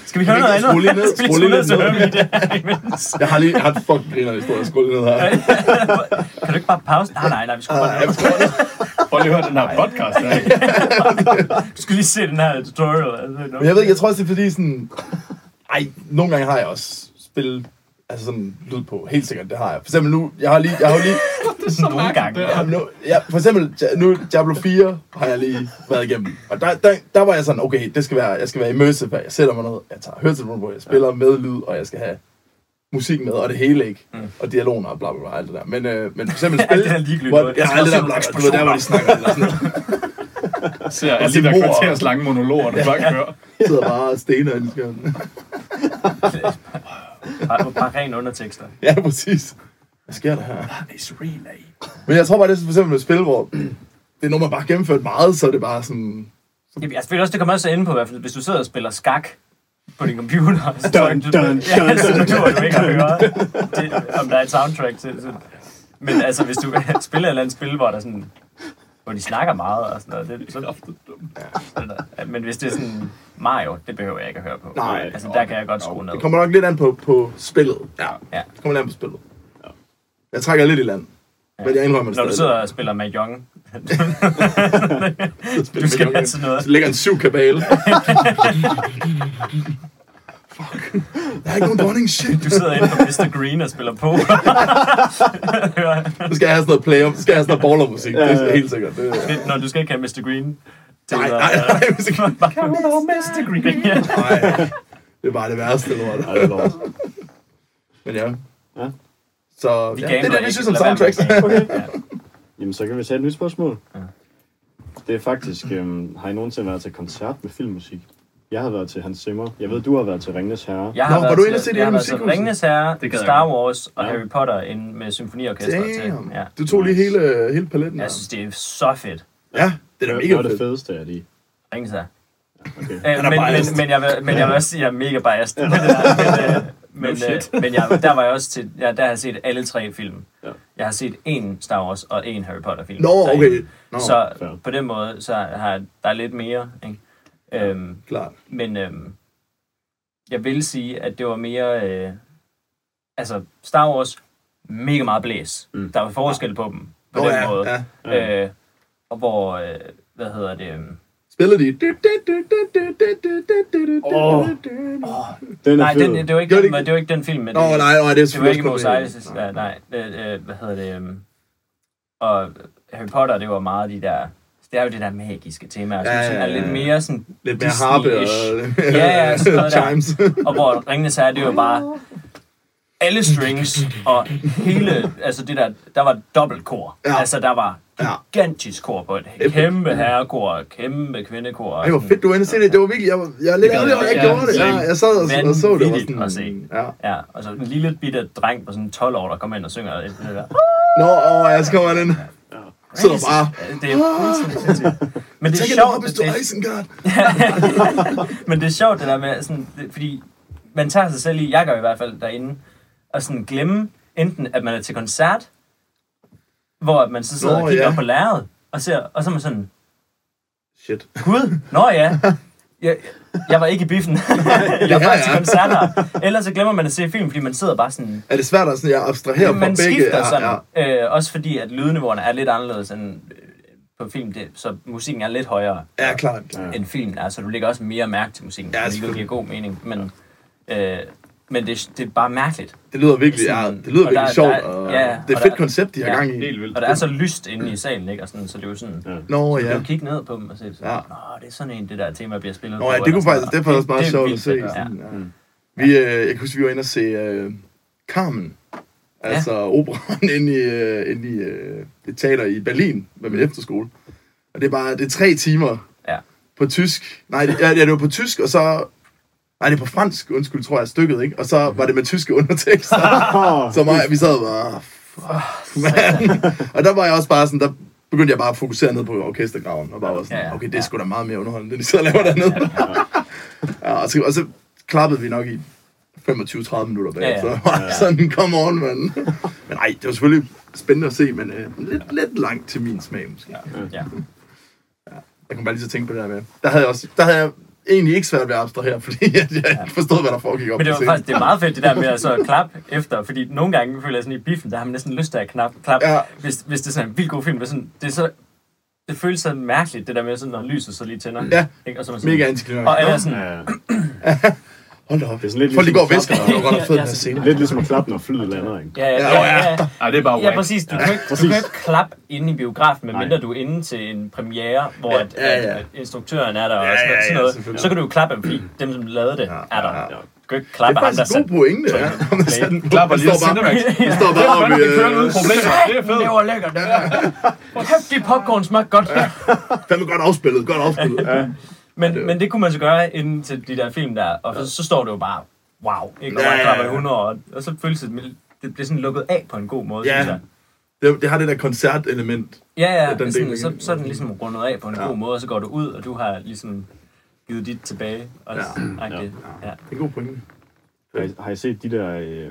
Skal vi høre noget ikke skrue andet? lidt ned? Skal Skrue vi skrue lidt ned, så ned? hører vi det her imens? Jeg har lige jeg har et fucking griner, hvis du har skålet ned her. Kan du ikke bare pause? Nej, nej, nej, vi skal bare ned. Prøv lige at høre den her podcast her. ikke? Du skal lige se den her tutorial. Men jeg ved ikke, jeg tror også, det er fordi sådan... Ej, nogle gange har jeg også spillet altså sådan lyd på. Helt sikkert, det har jeg. For eksempel nu, jeg har lige... Jeg har jo lige Det er så Nogle mærkeligt, gange. det her. Jamen, nu, ja, for eksempel, ja, nu Diablo 4 har jeg lige været igennem. Og der, der, der var jeg sådan, okay, det skal være, jeg skal være immersive. her. Jeg sætter mig ned, jeg tager høretelefoner på, jeg spiller med lyd, og jeg skal have musik med, og det hele ikke. Og dialogen og bla bla bla, alt det der. Men, øh, men for eksempel Mm. Alt spil... det der ligegyldige hvor- noget. Ja, Jeg skal alt det også der se blok, du ved, nogle der hvor de snakker. Eller sådan, noget. Ser jeg til lige der mor. kvarters lange monologer, du bare kører. Jeg sidder bare og stener i skærmen. Bare, bare ren undertekster. Ja, præcis. Hvad sker der her? It's relay. Men jeg tror bare, det er for eksempel et spil, hvor det er noget, man bare har gennemført meget, så er det bare sådan... Jamen, jeg føler også, det kommer også ind på, i hvert fald, hvis du sidder og spiller skak på din computer. Så tror jeg ikke, du- Dun, dun, Ja, dun, så dun, behøver du ikke at høre, det, om der er et soundtrack til. Så. Men altså, hvis du spiller et eller andet spil, hvor der sådan hvor de snakker meget og sådan noget. Det, så, sådan der. Men hvis det er sådan Mario, det behøver jeg ikke at høre på. Nej. Altså, der kan jeg godt skrue ned. Det kommer nok lidt an på, på spillet. Ja. Ja. Det kommer lidt an på spillet. Jeg trækker lidt i land. Men jeg indrømmer det Når du sidder og spiller Mahjong, du skal have sådan noget. Så ligger en syv kabale. Fuck. Der er ikke nogen dronning shit. Du sidder inde på Mr. Green og spiller på. Så skal jeg have sådan noget play så skal jeg have sådan noget baller musik. Det Ja, er ja. helt sikkert. Det, Når du skal ikke have Mr. Green. til nej, at- nej, nej, musik. Bare- Mr. Green. Ja. nej. Det er bare det værste lort. Ej, det er lort. Men ja. Ja. Så Vi ja, det gambler er det, ikke. vi synes om Lad være med at soundtracks. gamble. Jamen, så kan vi tage et nyt spørgsmål. Ja. Det er faktisk, øhm, har I nogensinde været til koncert med filmmusik? Jeg har været til Hans Zimmer. Jeg ved, du har været til Ringnes Herre. Jeg Nå, har var været du til- inde og se det i Jeg har været til musikhuset? Ringnes Herre, Det gad jeg Star godt. Wars og Ja. Harry Potter inde med symfoniorkestret til. Damn. Ja. Du tog lige hele, hele paletten Jeg her. synes, det er så fedt. Ja, det er da Hvad er mega det fedt. fedeste af de? Ringnes Herre. Okay. Øh, men, biased. men, men, jeg vil, men jeg vil også sige, at jeg er mega biased. Men, øh, men, øh, men jeg, der var jeg også til, ja, der har jeg set alle tre film. Ja. Jeg har set en Star Wars og en Harry Potter film. Nå, okay. Nå, Så fair. på den måde, så har jeg, der er lidt mere. Ikke? Øhm, klart. Men øhm, jeg vil sige, at det var mere... Øh, altså, Star Wars, mega meget blæs. Mm. Mm. Der var forskel på dem, på Nå, den ja, måde. ja. Ja. Øh, og hvor, øh, hvad hedder det... øhm, Spiller de? Åh. Den er Nej, fed. den, det, var ikke Gør det den, ikke? det var ikke den film. men Nå, det, nej, nej, det er det var ikke selvfølgelig Mos også problemet. Eises. Nej, nej øh, øh, hvad hedder det... øhm, og Harry Potter, det var meget de der... Det er jo det der magiske tema, som Ja, ja, ja, ja, ja. er ja, lidt ja. mere sådan... Lidt mere harpe og Disney-ish. Ja, ja, sådan noget der. chimes. Og hvor Ringende Sager, det var bare alle strings og hele, altså det der, der var dobbeltkor. Ja. Ja. Altså der var Ja. gigantisk kor på et kæmpe herrekor og kæmpe kvindekor. og Ej, hvor sådan. fedt, du endte se det. Det var virkelig, jeg, var- jeg er lidt Det gør ærgerlig, over, at jeg ikke jeg. gjorde det. Ja, Jeg, jeg sad og, og så det. og var Vanvittigt at se. Ja. Ja, og så en lille bitte dreng på sådan 12 år, der kommer ind og synger. Det der. Nå, åh, jeg skal over den. Sidder bare. Det er fuldstændig sindssygt. Men det er Take it up, sjovt, Mr. det, Isengard. men det er sjovt det der med, sådan, det, fordi man tager sig selv i, jeg gør i hvert fald derinde, og sådan glemme enten, at man er til koncert, hvor at man så sidder Nå, og kigger ja. op på lærredet, og, ser, og så er man sådan, Shit. gud, nå ja, jeg, jeg var ikke i biffen, jeg var Ja, ja. til koncerter. Ellers så glemmer man at se film, fordi man sidder bare sådan, Er det svært at sådan, jeg abstraherer fra man begge? skifter Ja, sådan, ja. Øh, også fordi at lydniveauerne er lidt anderledes end øh, på film, det, så musikken er lidt højere Ja, klart. klart. end filmen er, så du lægger også mere mærke til musikken, Ja, ja, hvilket selvfølgelig. giver god mening. Men, øh, men det, det er bare mærkeligt. Det lyder virkelig, ja, Sådan, det lyder og virkelig der- sjovt. der- og ja, Det er og et fedt der- koncept, de har ja. gang i. Helt vildt. Og der er så lyst inde i salen, ikke? Og sådan, så det er jo sådan, ja. Nå, du ja. kan kigge ned på dem og se, sådan, Ja. ja. Nå, det er sådan en, det der tema bliver spillet Nå ja, det eller kunne sådan faktisk, det er noget." faktisk meget det Mm. er sjovt at vildt se. fedt, Ja. Ja. Ja. Vi, øh, jeg kan huske, vi var inde og se øh, Carmen. Altså operan inde i, øh, inde i øh, et teater i Berlin med Mm. min efterskole. Og det er bare, det er tre timer Ja. på tysk. Nej, det, ja, det var på tysk, og så... Nej, det er på fransk, undskyld, tror jeg, stykket, ikke? Og så var det med tyske undertekster. Åh, Så mig, vi sad og bare, "Ah, fuck, man. Og der var jeg også bare sådan, der begyndte jeg bare at fokusere ned på orkestergraven, og bare var sådan, Ja, ja. okay, det er sgu da meget mere underholdende, end de sidder og laver dernede. ja, og, så, og så klappede vi nok i 25-30 minutter bag, ja, ja. Ja, ja. så var ja. sådan, come on, mand. men nej, det var selvfølgelig spændende at se, men øh, lidt, lidt langt til min smag, måske. Ja. Ja. Jeg kom bare lige til at tænke på det der med. Der havde jeg, også, der havde jeg egentlig ikke svært ved at abstrahere, fordi at jeg ikke forstod, hvad der foregik op Men det på var scenen. faktisk det er meget fedt, det der med at så klappe efter, fordi nogle gange føler jeg sådan i biffen, der har man næsten lyst til at knap, klap, Ja. ja. hvis, hvis det er sådan en vildt god film, men sådan, det er så det føles så mærkeligt, det der med, sådan, når lyset så lige tænder. Ja. Ikke? Og så er man sådan, Mega antiklimatisk. Og alle er sådan, Ja, Hold da op. Det er sådan lidt Folk lige går og ligesom visker, klapper. det var godt nok fedt, den her Ja, scene. lidt ligesom at klappe, når flyet lander, ikke? ja, ja, Ja, ja, ja, ja. Ej, det er bare Ja, whack. præcis. Du kan, ikke, du kan præcis. ikke klappe inde i biografen, medmindre Nej. du er inde til en premiere, hvor at, Ja, ja, ja. At, at instruktøren er der og Ja, sådan ja, noget. ja, Sådan noget. selvfølgelig. Så kan du jo klappe, fordi dem, som lavede det, Ja, er der. ja, ja. Du kan ikke Det klappe er ham, der faktisk en god pointe, satte ja. Om at sætte den- Klapper den lige står bare- Cinemax. Den står bare Fandme, oppe i... det kører uden øh, problemer. Det er Den fedt. lever lækkert. Kæft, de popcorn smagte godt. Fandme godt afspillet, godt afspillet. Ja. Men, men det kunne man så gøre inden til de der film der, og så, så står det jo bare, wow, ikke? Og Ja, man ja, klapper i ja. 100, og, og så føles det, det bliver sådan lukket af på en god måde, Ja. synes jeg. Det, det har det der koncertelement. Ja, ja, den del den sådan, igen. så, så er den ligesom rundet af på en Ja. ja. god måde, og så går du ud, og du har ligesom givet dit tilbage. Også, ja. Ja. Ja. Det er en god pointe. Har I, har I set de der, øh, jeg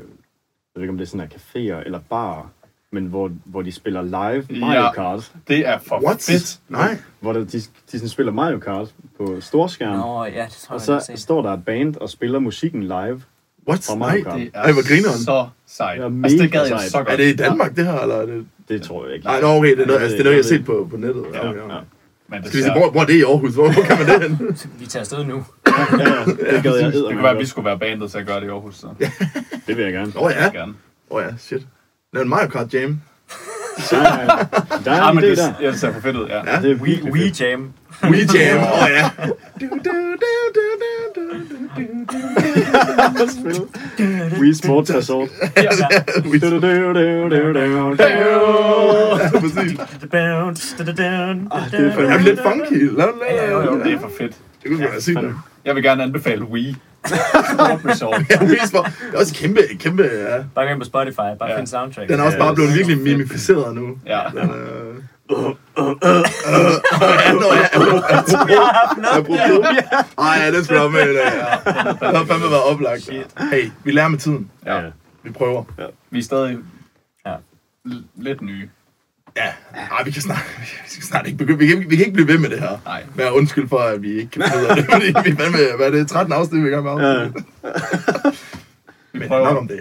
ved ikke om det er sådan her caféer eller barer, men hvor, hvor de spiller live Mario Ja. Kart? Det er for What? fedt. Nej. Hvor der, de, de sådan spiller Mario Kart på storskærm, Nå, ja, det tror og jeg, så jeg, står der et band og spiller musikken live. What? Fra Nej. Mario Kart. Det er Ej, hvor grineren. så sejt. Det er Altså, det mega gad jeg sejt. så godt. Er det i Danmark, det her? Eller er det... Det tror jeg ikke. Nej, nå, okay, det er noget, Jeg ved altså, det er ikke, noget jeg har jeg set på, på nettet. Ja, okay, okay. Men det, Skal vi se, hvor, hvor er det i Aarhus? Hvor, hvor kan man det hen? ser. Vi tager afsted nu. Ja, ja, det gad jeg det kunne være, at vi eddermame skulle være bandet til at gøre det i Aarhus. Så. Ja. godt. Det vil jeg gerne. Åh oh, ja. Gerne. Åh oh, ja, shit. Lav en Mario Kart Jam. Ja, ja, ja. Der er Ah, en men idé det, der. ja, det ser for fedt ud, ja. Det er We, virkelig we fedt. jam. We Jam. Åh oh, ja. Du, du, du, du, du, du, du, du, du. Wii Sports Resort. Ja, ja. Du, du, du, du, du, du, du. Ja, præcis. det er Men er Ah, det lidt funky? La, la, la, Ja, jo, jo, la. Det er for fedt. Det kunne være sygt. nok. Jeg vil gerne anbefale Wii. Sport Resort. Ja, Wii Sport. Det er også kæmpe, kæmpe, ja. Bare gå ind på Spotify, bare Ja. find soundtrack. Den er også bare blevet virkelig mimificeret nu. Ja. Den, øh... Ja, nå, ja, apropos. Ej, ja, den skulle jeg med i dag. ja. Det har fandme været oplagt. Hey, vi lærer med tiden. ja. Ja. Vi prøver. Vi er stadig Ja. l- lidt nye. Ja, Ej, vi kan snart, vi skal snart ikke begynde. Vi kan, vi kan ikke blive ved med det her. Nej. Vær undskyld for, at vi ikke kan finde ud af det. Fordi vi er fandme, hvad er det, 13 afsnit, vi er i gang med afsnit. Ja. Vi Men prøver. nok om det,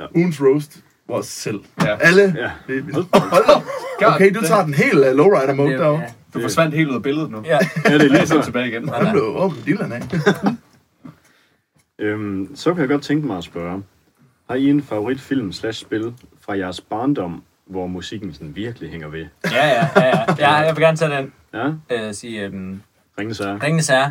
ja. Ugens roast var os selv. Ja. Alle. Ja. Vi, vi, hold op. Okay, du tager den helt uh, lowrider mode derovre. Ja. Du forsvandt helt ud af billedet nu. Ja. Ja, det er Jeg lige er så så. tilbage igen. Han blev åben i Dylan af. Øhm, så kan jeg godt tænke mig at spørge. Har I en favoritfilm slash spil fra jeres barndom, hvor musikken sådan virkelig hænger ved? Ja, ja, ja, ja. ja. Jeg vil gerne tage den. Ja, Øh, sige, øhm, ringende sager. Ringende Sager.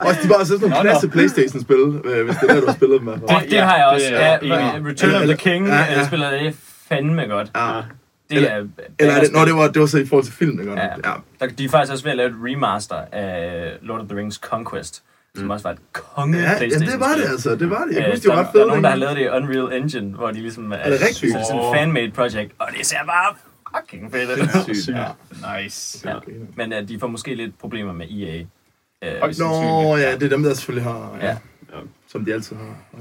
Og de var sådan nogle Nå, nå. klasse Playstation-spil, øh, hvis det er der, du har spillet dem. i hvert fald. Det, det har jeg også. det er Ja, jeg enig i. Return of Eller- the King ja, ja. øh, spiller det fandme godt. Ja. Det er, Eller er det, nå, det var, det var så i forhold til filmen, ikke? Ja. Ja. Der, de er faktisk også ved at lave et remaster af Lord of the Rings Conquest, som også var et konge Mm. Øh, Ja, jamen, det var det altså, det var det. Jeg kunne huske, det var ret der, der er nogen, der har fedt. lavet det i Unreal Engine, hvor de ligesom er, det rigtigt? så det er sådan Åh. en fan-made project, og det ser bare fucking fedt ud. Sygt. Ja. Nice. Ja. Men uh, de får måske lidt problemer med E EA. Uh, Højst Nå, sandsynligt. ja, det er dem, der selvfølgelig har, ja, Ja. E som de altid har.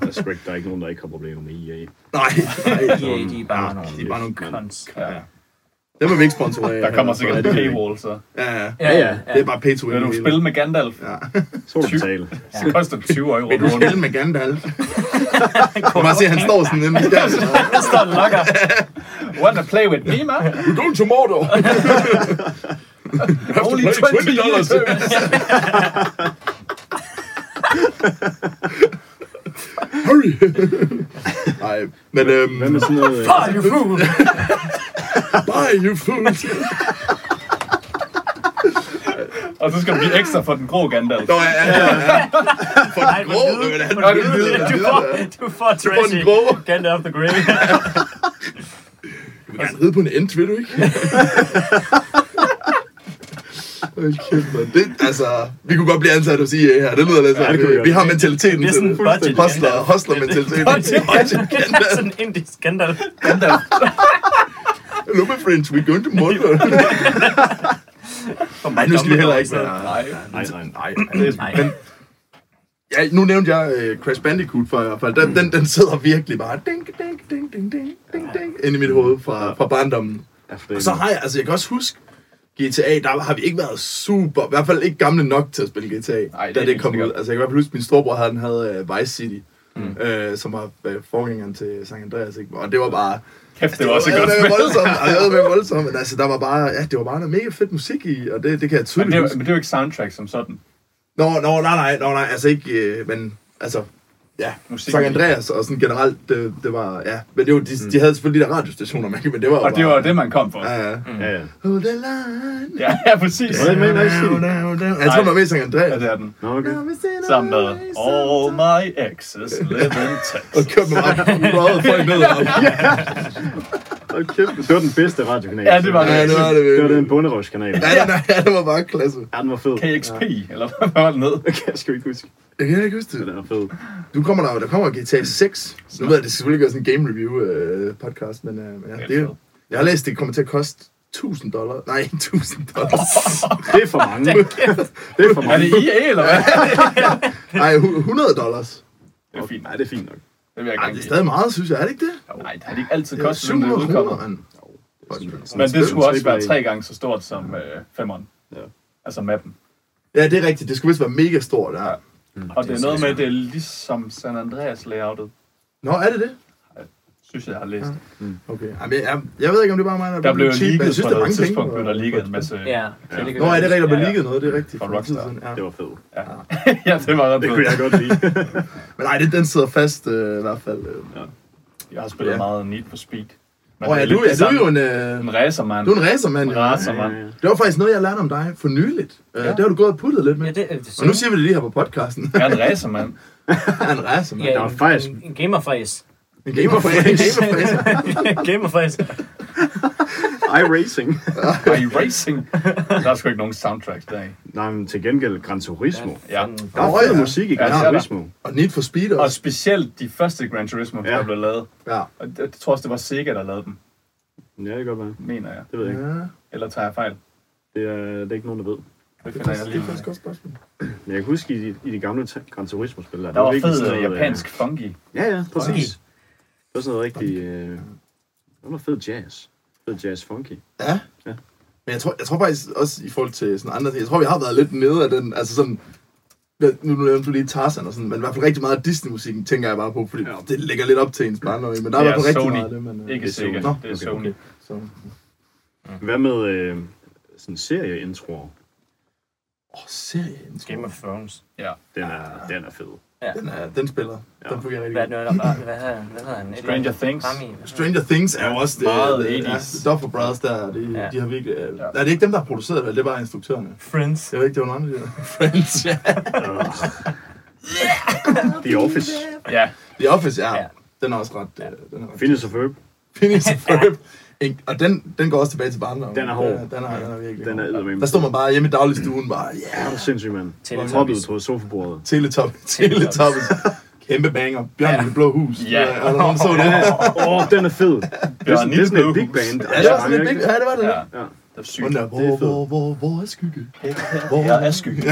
Der er sgu ikke, der er ikke nogen, der ikke har problemer med E EA. nej, nej. EA, de er bare Ja, nogle de er bare nogle cons. Ja. Dem er vi ikke sponsoreret. Der kommer sikkert en paywall, så. Ja, ja. Ja, ja. ja, ja. Det er bare pay to win. Vil du det hele. spille med Gandalf? Ja. Så må du betale. Det koster 20 euro. Vil du spille med Gandalf? Du kan bare se, at han står sådan nemme i skærmen. Der står en lokker. Want to play with me, man? We're going to Mordor! Only play 20 dollars. Hurry! Nej, men øhm, Hvad med sådan noget... øh, Fuck, you fool! buy you food! Og så skal du blive ekstra for den grå Gandalf. Nå, ja, ja, ja. For Nej, den grå, for den hvide. men han Du den hvide, den hvide, får, ja. du får får trashy. den grå. Gandalf the Grey. Du vil gerne ride på en ent, vil du ikke? Hold kæft, mand. Det, altså, vi kunne godt blive ansat hos IA her. Det lyder lidt Ja, sådan. det kunne vi vi, godt. vi har mentaliteten Det er til sådan en budget Hustler, Gandalf. hustler-mentaliteten. Budget Budget Gandalf. Gandalf. Sådan en indisk Gandalf. Hello, my friends. We're going to murder. Nej, nu skal vi heller ikke Nej, være... nej, Nej, nej, nej. nej. nej. Nej. Men, ja, nu nævnte jeg uh, Crash Bandicoot for i hvert fald. Den, den, den sidder virkelig bare ding, ding, ding, ding, ding, ding, ding, ind i mit hoved fra, fra barndommen. Ja, for det Og så har jeg, altså jeg kan også huske, GTA, der har vi ikke været super, i hvert fald ikke gamle nok til at spille GTA, Nej, det da det er helt kom ud. sikkert. Altså jeg kan i hvert fald huske, min storebror havde, den havde uh, Vice City, mm. øh, som var øh, forgængeren til San Andreas, ikke? og det var bare... Kæft, det var også et jeg godt havde spil. været voldsomt, og jeg havde været voldsomt, men altså der var bare, ja, det var bare noget mega fedt musik i, og det, det kan jeg Men det, tydeligt er, huske. jo- men det er jo ikke soundtrack som sådan. Nå, nå, nej, nej, nå, nej, altså ikke, øh, men altså, ja, Musik. Sankt Andreas og sådan generelt, det, det var, ja, men det var, de, de havde selvfølgelig de der radiostationer, man, men det var jo Mm. Og det var Mm. bare- det, man kom for. Ja, ja. Ja, ja. Hold the line. Ja, ja præcis. Var det med i Vice City? Jeg tror, det var mest Sankt Andreas. Ja, det er den. Nå, okay. Sammen med All My Exes Live in Og Texas. kørte mig op. Røde folk ned op. Hold kæft. Det var den bedste radiokanal. Ja, det var det. Ja, det var det Det var virkelig. den bunderøvskanal. Ja, det, ja, det var bare klasse. Ja, den var fed. KXP, eller hvad var det ned? Jeg kan sgu ikke huske, Jeg kan ikke huske men det. den var fed. Nu kommer der, jo- der kommer GTA 6. Nu ved jeg, det skal selvfølgelig gøre sådan en game review øh, podcast, men øh, ja, det, er- jeg har læst, det kommer til at koste 1000 dollar. Nej, 1000 dollars. Det er for mange. Det er for Er mange. det IA, eller hvad? Nej, hu- 100 dollars. Det er fint. Nej, det er fint nok. Det vil jeg Ej, gerne det er give. stadig meget, synes jeg. Er det ikke det? Nej, det har de ikke altid Det er altså. kostet, når det 700 udkommer. kroner, mand. Men det skulle også Triple være A. tre gange så stort som øh, femmeren. Ja. Altså mappen. Mm, Ja, det er rigtigt. Det skulle vist være mega stort, ja. Og det er noget med, at det er ligesom San Andreas layoutet, Nå, er det det? synes jeg, jeg har læst. Okay. Jamen, jeg, jeg, jeg ved ikke, om det er bare mig, der, Der blev cheap, men leaget på det er noget mange penge, tidspunkt, og- blev der leaget en masse... Ja, så det kan Nå, være. er det rigtigt, der blev Ja, ja. leaget noget, det er rigtigt. Fra For Rockstar. tiden, ja. Det var fedt. ja, det var ret Det kunne fedt. jeg godt lide. Men nej, det, den sidder fast øh, i hvert fald. Øh. Jeg har spillet Ja. meget Need for Speed. Men Og det ja, lidt du, ja, det du er samme. jo en, øh, en racer, mand. du er en racermand. en Ja. racer, Ja, mand. ja, ja. Det var faktisk noget, jeg lærte om dig for nyligt. Øh, Ja. Det har du gået og puttet lidt med. Ja, det, det og nu siger vi det lige her på podcasten. Jeg er en racer, mand. Han er en racermand. ja, Ja. Der var en, faktisk- en, en gamerfræs. En gamerfræs. En gamerfræs. gamerfræs. iRacing. Var I racing? Der er sgu ikke nogen soundtracks der i. Nej, men til gengæld Gran Turismo. Ja. Der er Nå, fed ja. musik i Ja, Gran det er der. Turismo. Og Need for Speed Og også. specielt de første Gran Turismo, der Ja. blev lavet. Ja. Og det, jeg tror også, det var Sega, der lavede dem, Ja, det kan godt være. mener jeg. Det ved jeg ikke. Ja. Eller tager jeg fejl? Det er, det er ikke nogen, der ved. Det Det finder jeg er- det lige er ud faktisk af. godt spørgsmål. Men jeg kan huske, i de, i de gamle ta- Gran Turismo-spil, der, Der var virkelig fed sådan øh, noget, øh, japansk funky. Ja, ja, præcis. Det var sådan noget rigtig... Øh, det var fed jazz. Fed jazz funky. Ja. Ja. Men jeg tror, jeg tror faktisk også i forhold til sådan andre ting, jeg tror, vi har været lidt nede af den, altså sådan, nu nu nævnte du lige Tarzan og sådan, men i hvert fald rigtig meget af Disney-musikken tænker jeg bare på, fordi Ja. ja. det ligger lidt op til ens barndom, ikke? men der er i Det hvert fald er rigtig Sony. meget af det, man... øh, Ikke det er Sega, Sony. det er Nå, okay, Sony. Så. Hvad med øh, sådan serieintroer? Åh, serien, tror Game jeg. of Thrones. Ja. Den er, den er fed. Den, er, den spiller. Ja. Den fungerer Hvad er rigtig det, godt. nu, der bare? Hvad hedder han? Hvad hedder han? Stranger Things. Stranger Things er jo også det. Meget det- 80's. Ja, Duffer Brothers der, de, Ja. ja. de har virkelig... Øh, Ja. ja. Er det ikke dem, der har produceret det, eller det er bare instruktørerne? Friends. Jeg ved ikke, det var nogen andre, de der. Friends, ja. The Office. Ja, The Office, ja. Ja. ja. Den er også ret... Øh, den er ret Phineas og Ferb. Phineas og Ferb. En- Og den, den går også tilbage til barndommen. Den er hård. Den er, den er, den er virkelig Den er hård. eddermame. Der står man bare hjemme i dagligstuen, bare, ja, yeah, Det er sindssygt, mand. Teletubbies. Hoppede på sofabordet. teletop, teletop. Kæmpe banger. Bjørn i det blå hus. Ja. Er der nogen, der så det? Ja, Åh, oh, den er fed. Det er sådan, det er sådan Nille et big Blåhus. band. det var sådan lidt vigtigt. Ja, det var det. ja. Ja. Ja. Det er sygt. Den der, Det er hvor, fedt. hvor, hvor, hvor er skygge? Hvor jeg er sky.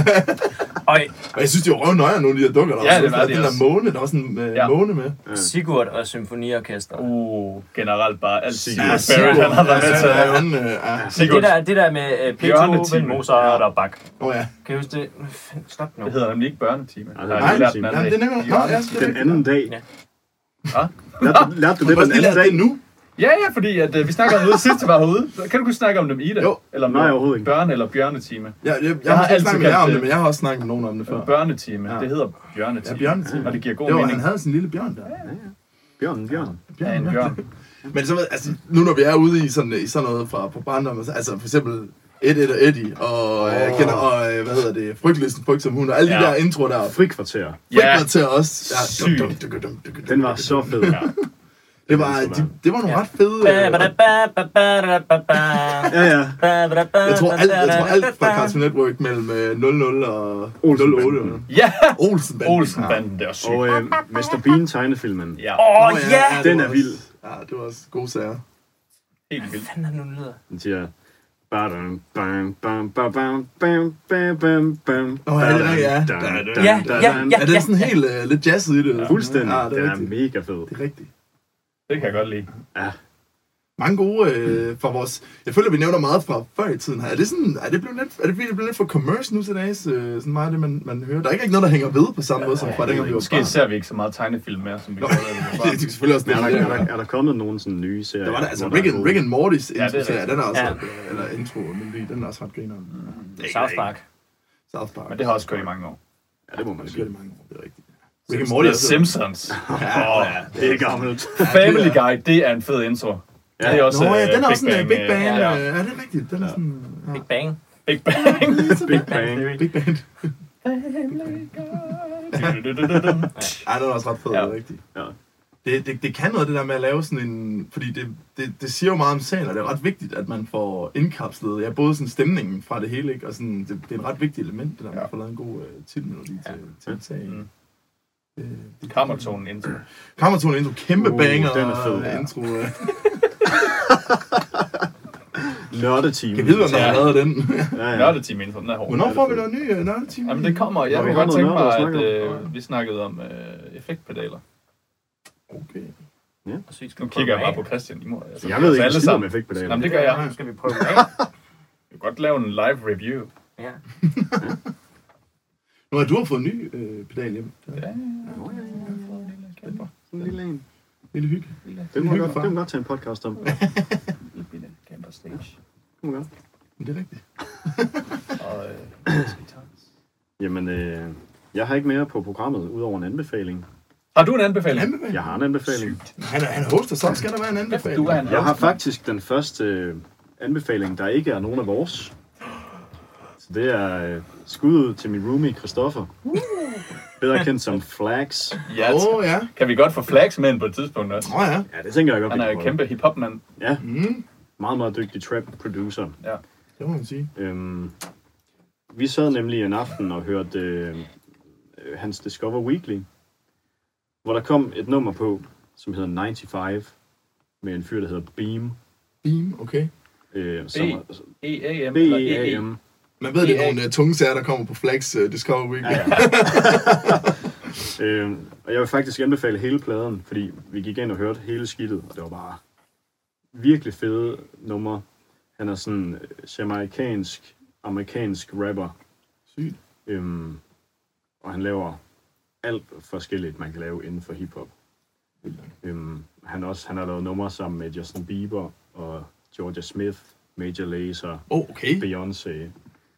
Og Og jeg synes, det var røvnøjer, nogle af de der dukker. Der Ja, det var sådan, det Den der også. måne, der var sådan en Ja. øh, måne med. Sigurd og symfoniorkester. Uh, generelt bare alt Sigurd. Sigurd Barrett, Sigurd, han har været ja, med til. ja, han, øh, ja. Men Sigurd, det der, det der med øh, P2, Bjørnetimen. Vel Mozart og Bach. Åh ja. Kan du huske det? Hvad fanden, Stop nu. det hedder nemlig ikke børnetime. Nej, Der er nej, lige lært den nej, Jamen, det er anden nemlig... dag. Nå, ja, det er Den rigtigt. anden dag. Ja. Hva? Lærte, lærte du det Hvorfor skal de den anden lade dag? det nu? Ja, ja, fordi at, øh, vi snakker om noget sidst, var herude. Så Kan du kunne snakke om dem, Ida? Jo. Eller om Nej, noget overhovedet ikke. Børne- eller bjørnetime. Øh, Ja, jeg, jeg, Jeg har har ikke altid snakket med jer kaldt om det, det- men jeg har også snakket med nogen om det før. Børnetime, Ja. det hedder bjørnetime. Ja, bjørnetime. Og det giver god Det var, han mening. havde sin lille bjørn der. Bjørn, Bjørn. Ja, en bjørn. Men så ved, altså, nu når vi er ude i sådan, i sådan noget fra på barndom, altså, altså for eksempel Ed, Ed og Eddie, og, oh. øh, gener- og øh, hvad hedder det, Frygtlisten, Frygt som hund, og alle ja. Ja. de der introer der. Frikvarter. Frygtler til os. Ja, dum, Sygt. dum, dum, dum, dum, dum, dum. Den var så fed. Ja. det var, de, det var nogle ret fede... Øh, Ja, ja. jeg tror alt, jeg tror alt fra Cartoon Network mellem øh, 00 og 08. Ja, Olsen Olsenbanden, det er også Og sygt. øh, Mr. Bean tegnefilmen. Ja, Åh, ja! Den er vild. Ja, det var også gode sager. helt vildt. Hvad fanden er det nu, den hedder? Den siger, Badum, bam, bam, ba, bam, bam, bam, bam, bam. Nå, ja, det er rigtigt, ja. Dun, dun, dun, Ja, dun, ja, dun. ja. Er det sådan helt øh, lidt jazzet i det? eller? Fuldstændig. Ja, Ah, det Den er er rigtigt. mega fed. Det er rigtigt. Det kan jeg godt lide. Ja. Mange gode øh, fra vores... Jeg føler, vi nævner meget fra før i tiden her. Er det sådan... Er det blevet lidt, er det blevet lidt for commerce nu til dags? Øh, sådan meget af det, man, man hører. Der er ikke rigtig noget, der hænger ved på samme måde, som fra dengang vi var Måske barn. ser vi ikke så meget tegnefilm mere, som vi gjorde, da vi var Det er barn. selvfølgelig også Men er der, det. er, der, er der kommet nogen sådan nye serier? Der var der, altså hvor Rick and, er Rick and Mortys Ja, det er intro, ja, rigtigt. den er også, Ja. ja. eller intro, melodi, den er også ret grineren. Det er ikke- South Park. South Park. Men det har også kørt i mange år. Ja, det må man Det kører sige. det mange år, det er rigtigt. Rick and Simpsons. Morty The er så- Simpsons. Åh, Det er gammelt. Family Guy, det er en fed intro. Ja, det er også, Nå ja, øh, den er også sådan en Big Bang. øh, Ja, ja. er det er rigtigt? Den er sådan... Ja. Big Bang. Big Bang. Altså, Big Bang. Big Bang. Ej, den er også ret fed, Ja. ja. rigtigt. Ja. Det, det, det kan noget, det der med at lave sådan en... Fordi det, det, det siger jo meget om sagen, og det er ret vigtigt, at man får indkapslet ja, både sådan stemningen fra det hele, ikke? og sådan, det, det er et ret vigtigt element, det der, ja. Ja. man får lavet en god øh, titelmelodi til, til en sag. Mm. Mm. Øh, det- Kammertonen intro. Kammertonen intro, kæmpe Uh, banger. den er fed, ja. ja. intro. øh. Nørdeteam. Kan vide, om der Ja. har lavet den. Ja, ja. Nørdeteam intro, den er hård. Hvornår får vi noget ny øh, nørdetime? Jamen det kommer, jeg Nå, vi kunne har godt noget tænke mig, nørdet at at snakke øh, vi snakkede om øh, effektpedaler. Okay. Og så skal Nu vi kigger jeg bare prøve på dem af. Christian i mor. Altså, Jeg ved ikke, alle hvad sammen. med fik på dagen. Jamen det gør jeg. Nu Jeg skal vi prøve dem af. kan godt lave en live review. Ja. Nu har du har fået en ny øh, pedal hjem. Det er Ja, Sådan en lille en. lidt hyggeligt. Det Hygge må jeg godt, for. det må jeg godt tage en podcast om. Det Camper stage. må jeg godt. Men det er rigtigt. Og øh, Jamen, øh, jeg har ikke mere på programmet, udover en anbefaling. har du en anbefaling? Anbefaling. Jeg har en anbefaling. Han er, han er hoster, så skal der være en anbefaling. Du er en Jeg har faktisk den første øh, anbefaling, der ikke er nogen af vores. Så det er øh, skuddet til min roomie, Christoffer. Bedre kendt som Flags. Ja, Åh, tak. oh, ja. Kan vi godt få flags med ind på et tidspunkt også? Åh, oh, ja. Ja, det tænker jeg godt, Han vi er kan en holde. kæmpe hiphopmand. Ja, Mm, meget, meget dygtig trap-producer. det må man sige. Øhm, vi sad nemlig en aften og hørte øh, øh, hans Discover Weekly, hvor der kom et nummer på, som hedder 95, med en fyr, der hedder Beam. Beam, okay. Øh, som, B- E-A-M E eller E-E. B-E-A-M. Man ved, det er Ja. nogle uh, tunge sager, der kommer på Flex uh, Discover Week. Ja, Ja, ja. øhm, og jeg vil faktisk anbefale hele pladen, fordi vi gik ind og hørte hele skidtet, og det var bare virkelig fede numre. Han er sådan øh, jamaikansk, amerikansk rapper, Sygt. Øhm, og han laver alt forskelligt, man kan lave inden for hiphop. Øhm, han, også, han har lavet numre sammen med Justin Bieber og Georgia Smith, Major Lazer, Åh, oh, okay. Beyoncé.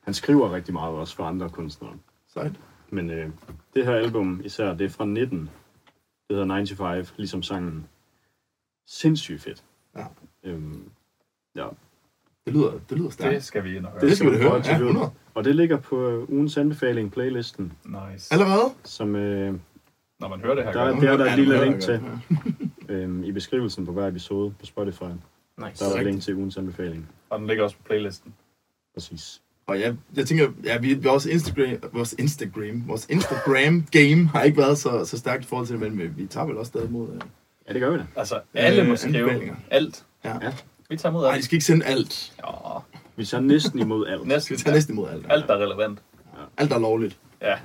Han skriver rigtig meget også for andre kunstnere. Sejt. Men øh, det her album især, det er fra 19. Det hedder 95, ligesom sangen. Sindssygt fedt. Ja. Øhm, ja, Det lyder, det lyder stærkt. Det skal vi ind og høre. Det skal vi da prøve høre. at Ja, tjekke ud. 100. Og det ligger på øh, ugens anbefaling playlisten, Nice. Allerede? som øh, Når man hører det her, Der er- gør man. det der Ja, et lille det link godt. til. Ja. øh, i beskrivelsen på hver episode på Spotify, Nice. der er der et Rigtigt. link til ugens anbefaling. og den ligger også på playlisten. Præcis. Og ja, jeg tænker, ja, vi, vores Instagram, vores Instagram, vores Instagram game har ikke været så, så stærkt i forhold til det, men vi, vi tager vel også stadig mod. Uh... Ja, det gør vi da. Altså, alle Øh, må skrive anbefalinger. alt. Ja. Ja. Vi tager mod Nej, de alt. skal ikke sende alt. Ja, Vi tager næsten imod alt. Vi skal næsten. tage næsten imod alt. Alt, der er relevant. Alt, der er lovligt. Ja.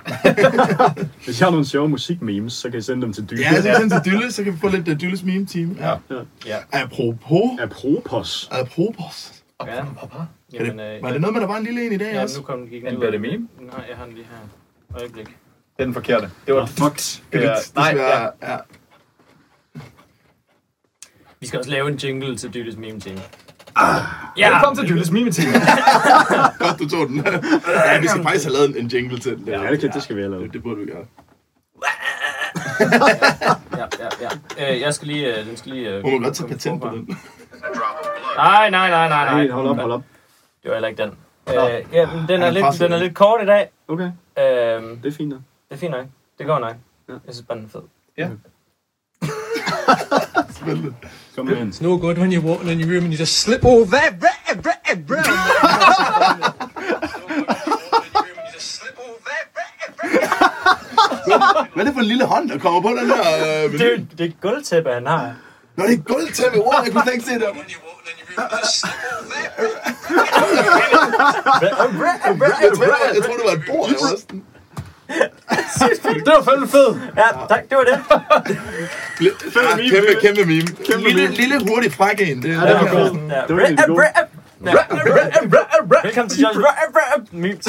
Hvis jeg har nogle sjove musikmemes, så kan I sende dem til dybe. Ja, så send til Dylle, så kan vi få lidt uh, Dylles meme-team. Ja. Ja. Ja. Apropos. Apropos. Apropos. Ja. Jamen, øh, Var det noget med, der var en lille en i dag ja, også? nu kom den gik Men ud. bliver det meme? Nej, jeg har den lige her. Øjeblik. Det er den forkerte. Det var... Fucked. Kan det, Ja, det, nej, desværre, ja. ja. Vi skal også lave en jingle til Dyttes meme team. Ah! Ja! Velkommen til Dyles Mime-team. Godt, du tog den. ja, vi skal faktisk have lavet en, en jingle til den. Ja, det, kan, det skal vi have det, lavet. det burde vi gøre. Ja, ja, ja. Øh, jeg skal lige... Øh, den skal lige... Øh, Må man godt tage komme patent på forfra. den? Nej, nej, nej, nej, nej. Hey, hold op, hold op. Det var heller ikke den. Øh, ja, men den, er han lidt, pressede den er den. lidt kort i dag. Okay, Øh, det er fint da. det er fint nok. Det går nok. Ja. Jeg synes bare, den er fed. Spændende. Kom med en. no good when you walk in your room and you just slip over there. Bruh, bruh, bruh. Hvad er det for en lille hånd, der kommer på den her? Øh, Det er jo det gulvtæppe, han har. Nå, det er guld til med ord, jeg kunne slet ikke se det. Jeg tror, det var, jeg tror, det var et bord. Jeg var sådan, Det var fandme fed. Ja, tak, det var det. Fed ah, meme, kæmpe, det- kæmpe meme. lille, lille hurtig fræk en. Det, ja, det var godt. Ja, Det var egentlig rap, god. rap. Ja. Velkommen til Josh. Rap, rap. Memes.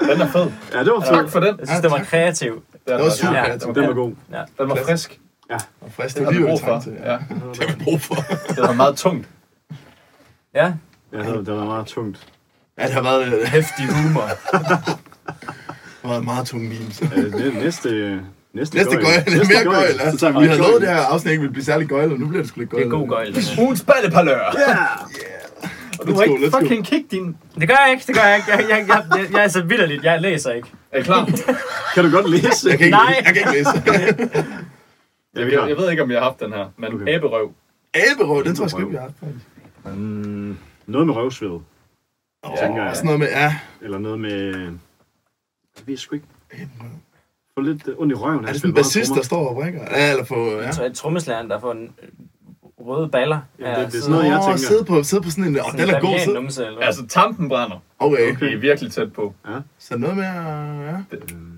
Den er fed. Ja, det var Tak fedt. for den. Jeg synes, det var kreativt. Den Det var super Ja. ja. kreativt. Den var god. Den var frisk. Og frisk, det Den var har vi lige, hvad brug vi for. trængte til. Ja. Ja. Det har vi brug for. Det var meget tungt. Ja. Ja, det var- det var meget tungt. Ja, det har været, det Hæftig humor. har været meget tunge memes. Øh, næ- Næste... Næste, Næste gøjl. Det er mere gøjl. Så tager vi Vi lige havde lovet det her afsnit ikke ville blive særlig gøjl, og nu bliver det sgu lidt Det gøjl. er god gøjl. det der. Ugens ballepalør. Og Du må ikke fucking... kigge din... Det gør jeg ikke, det gør jeg ikke. Jeg, jeg, jeg, jeg, jeg er så vidderligt, jeg læser ikke. Er I klar? Kan du godt læse? Jeg kan ikke, Nej. jeg kan ikke læse. Ja, vi Jeg, kan. jeg ved ikke, om jeg har haft den her, men Okay. okay. æberøv. Æberøv, den tror jeg sgu ikke, vi har haft. Mm, Noget med røvsved, tænker Og jeg. sådan noget med, ja. Eller noget med... Jeg ved sgu ikke. Få lidt øh, ondt i røven. Er det sådan en bassist, der står og brækker? Ja, eller på... Ja. Så er trommeslæren, der får en øh, røde baller. Jamen, det- det er sådan sidder- noget, jeg Åh, tænker. sidde på, sidde på sådan en... Åh, den er god. bavian Sidde. numse, eller hvad? Altså, tampen brænder. Okay. Okay. Det er virkelig tæt på. Så noget med... øh, Ja. Mm,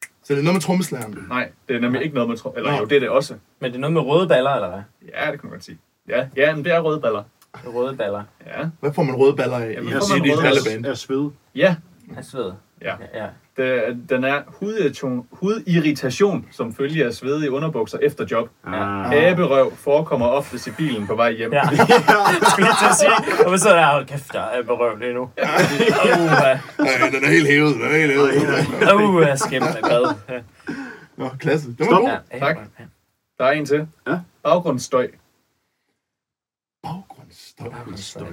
Så det er noget med trommeslæren. Nej, det er nemlig ikke noget med tro. Eller Nå. jo, det er det også. Men det er noget med røde baller, eller hvad? Ja, det kan man godt sige. Ja, ja men det er røde baller. Røde baller. Ja, Hvad får man røde baller af? Jamen, i- Jeg får man i- i- i- røde- Taliban? er sved. ja. Jeg sved. ja. Ja. Det, den er hudirritation, hudirritation, som følger af svedige underbukser efter job. Ah, Æberøv forekommer oftest i bilen på vej hjem. Ja. Jeg skulle lige til at sige. Og man sidder der, hold kæft, jeg er berøvet lige nu. Uha. Nej, den er helt hævet. Den er helt hævet. Uha, skæmt af bad. Nå, klasse. Det var Stop. god. Ja, ja. Tak. Der er en til. Ja. Baggrundsstøj. Baggrundsstøj.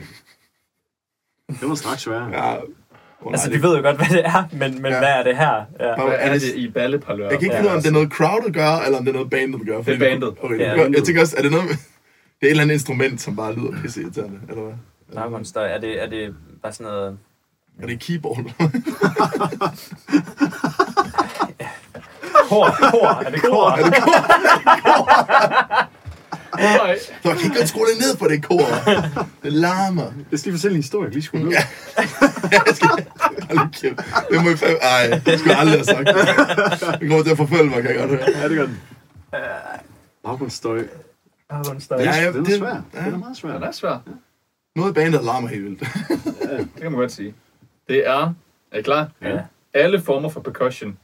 det var straks sværere. Ja. Oh, Altså, vi ved jo godt, hvad det er, men, men Ja. hvad er det her? Ja. Bare, er Hvad er det, det i balleparlør? jeg kan ikke finde ud af, om det er noget crowdet gør, eller om det er noget bandet gør. fordi- bandet. Okay, Ja. ja, jeg tænker også, er det noget med... Det er et eller andet instrument, som bare lyder pisse irriterende, eller hvad? Baggrundsstøj, er det, er det bare sådan noget... Er det et keyboard? Kor, kor, er det kor? er det kor? Nej. Så jeg kan ikke godt skrue det ned på det kor. Det larmer. Jeg skal lige fortælle en historie, vi lige skulle nå. Hold kæft. Det må jeg fandme... Ej, det skulle jeg aldrig have sagt. Det kommer til at forfølge mig, kan jeg godt høre. Ja, det gør den. Baggrundsstøj. Baggrundsstøj. Ja, Ja, Øh. ja, ja, den er det- svær. ja. Den er meget svær. Den er svær. Noget i bandet larmer helt vildt. Det kan man godt sige. Det er... Er I klar? Ja. Alle former for percussion.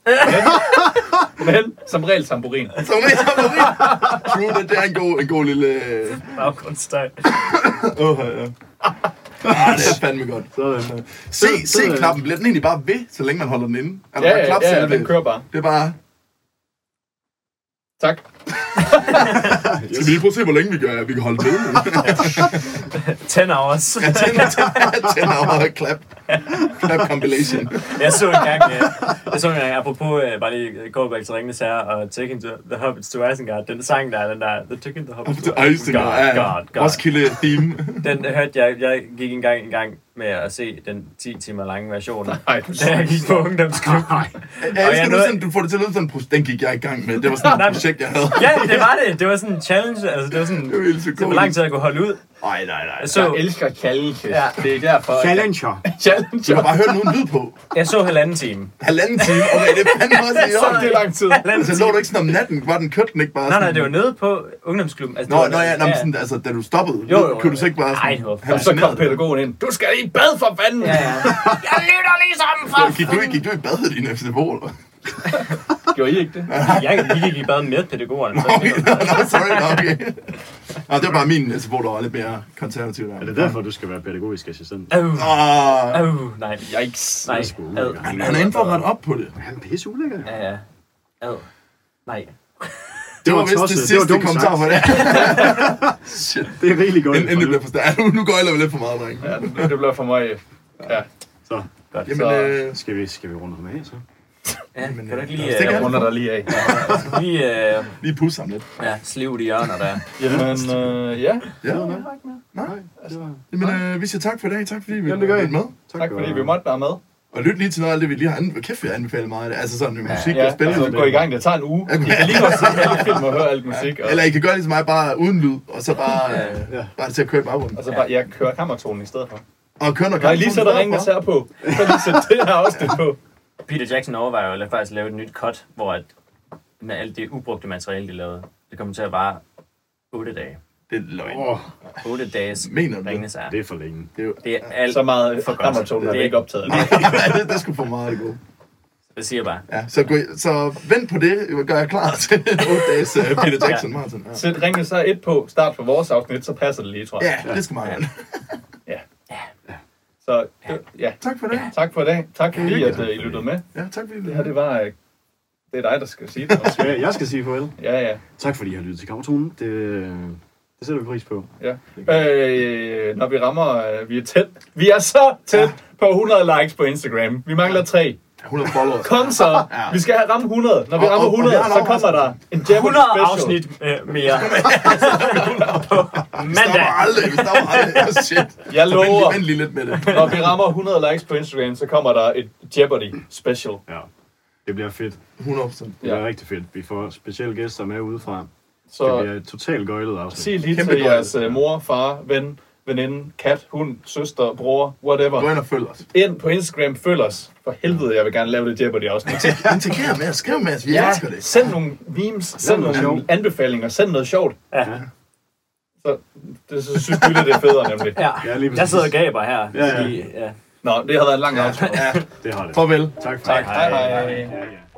Men, men som regel tamburin. Som en tamburin. True, det, det er en god, en god lille... Baggrundsstøj. Åh, ja. Ah, det er fandme godt. Sådan. Se, se knappen. Bliver den egentlig bare ved, så længe man holder den inde? Er der Ja, bare ja, klap ja, selv den ved? kører bare. Det er bare... Tak. Skal vi lige prøve at se, hvor længe vi gør, at vi kan holde det ude? Ten hours. Tænd, tænd, tænd over klap. Klap compilation. Jeg så engang, øh, jeg så engang apropos, øh, bare lige gå back til Ringenes Herre og Taking the, the Hobbits to Isengard, den sang der, er, den der, The Taking the Hobbits to Ejstinger Isengard, God, er God, Roskilde theme. Den hørte jeg, jeg gik engang en gang med at se den 10 timer lange version, da Nej, jeg gik på ungdomsklubben. Jeg Og jeg elsker, du, nåede- sådan, du får det til at lyde sådan, "Pros- den gik jeg i gang med. Det var sådan Nej, et men- projekt, jeg havde. Ja, det var det. Det var sådan en challenge. Altså, det var sådan, Det var helt så det var lang tid, jeg kunne holde ud. Nej, nej, nej. Jeg Jeg så, elsker challenge. Ja. Det er derfor... Challenger. Du Challenge. har bare hørt nogen lyd på. jeg så halvanden time. Halvanden time. Okay, det er fandme også i Så er orden. det lang tid. Halvanden Så time. lå du ikke sådan om natten? Var den kørt den ikke bare Nej, nej, sådan- det var nede på ungdomsklubben. Altså, Nå, det var- nå ja, nå, men sådan, altså, da du stoppede, Jo, jo, jo. kunne du så ikke bare Ej, sådan... det var Og så kom pædagogen ind. Du skal i bad for fanden! Ja, ja. Jeg lytter ligesom for... Gik du, gik du i bad i din FCB, eller? Gjorde I ikke det? Jeg vi gik i bad med pædagogerne. Så Okay, nå, nå, sorry, nå, okay. Nå, det var bare min FCB, der var lidt mere konservativ der. Er det derfor, du skal være pædagogisk assistent? Øv, Ah, øv, nej. Yikes. Nej, er sgu ad. ulækkert. han er inde for at rette op på det. Han er pisse ulækker. Ja, ja. Ad. Nej. Det var var vist tosset. det Det var sidste dumt kommentar sagt. for det. Det er rigtig godt. Inden inden det bliver for stærkt. Nu går jeg lidt for meget, dreng. Ja, det- det blev for mig. øh, Ja, Så Jamen, Så- øh, skal vi, skal vi runde ham af, så? Ja, kan du ikke det lige, kan øh, jeg runder dig lige af. lige øh, lige pusse ham lidt. ja, slive de hjørner der? Men øh, ja, Ja, nej. Nej, det var... Altså, men øh, vi siger tak for i dag. Tak fordi vi Jamen, det gør I. med. tak fordi vi måtte være med. Og lyt lige til noget af det, vi lige har anbefalet. Kæft, vi har anbefalet meget af det. Altså sådan med musik ja, Ja, og spil. altså, gå i gang, det tager en uge. I kan lige godt se alle film og høre alt musik. Og, Eller I kan gøre ligesom mig, bare uden lyd, og så bare, øh, Ja. bare det til at køre i baggrunden. og så bare, jeg kører kammertonen i stedet for. Og køre noget Når jeg Altså- lige sætter ringen her på, så lige sætter det her også det på. Peter Jackson overvejer jo at faktisk lave et nyt cut, hvor at med alt det ubrugte materiale, de lavede, det kommer til at vare 8 dage. Det er løgn. Åh, 8 dages Mener du det? ringes er. det er for længe. Det er jo... Det er alt Så meget for kammertonen er Det vi er ikke optaget. af. Ja, det, det skulle få meget af det gode. Jeg siger bare. Ja, så, gå, i- så vent på det, gør jeg klar til 8 dages øh, Peter Jackson Martin. Ja. Sæt ringen så et på, start for vores afsnit, så passer det lige, tror jeg. ja, det skal meget gerne. Så øh, ja, Tak for det. tak for i dag. Tak fordi, hyggeligt. at øh, I lyttede med. Ja, tak fordi du... Det her, det var... øh, Det er dig, der skal sige det. Ja, jeg skal sige farvel. Ja, ja. Tak fordi I har lyttet til Kammertonen. Det, det sætter vi pris på. Ja. Øh, når vi rammer, øh, vi er tæt. Vi er så tæt ja. på 100 likes på Instagram. Vi mangler tre. 100 followers. Kom så. Ja. Vi skal have ramme 100. Når vi Og- rammer og- og 100, vi har en så kommer der en Jeopardy 100 special. afsnit øh, mere. På mandag. Stopper aldrig, vi stopper aldrig. Oh, shit. Jeg Så vent lige, lover. vent lige lidt med det. Når vi rammer 100 likes på Instagram, så kommer der et Jeopardy special. Ja. Det bliver fedt. 100 procent. Det bliver Ja. ja. rigtig fedt. Vi får specielle gæster med udefra. Så det Så bliver et totalt gøjlet afsnit. sig lige Kæmpe til gøjl. jeres øh, mor, far, ven, veninde, kat, hund, søster, bror, Gå whatever. ind og følg os. Ind på Instagram, følg os. For helvede, jeg vil gerne lave det Jeopardy afsnit. Integrer med os, skriv med os, vi Ja, elsker det. send nogle memes, send noget nogle sjovt. anbefalinger, send noget sjovt. Ja. Så, det, så synes du, det er federe nemlig. Ja. Ja, lige præcis. Jeg sidder og gaber her. Ja, ja. Fordi, ja. Nå, det har været en lang aften. Det har det. Farvel. Tak for Tak. det. Hej, hej. hej. Ja, ja.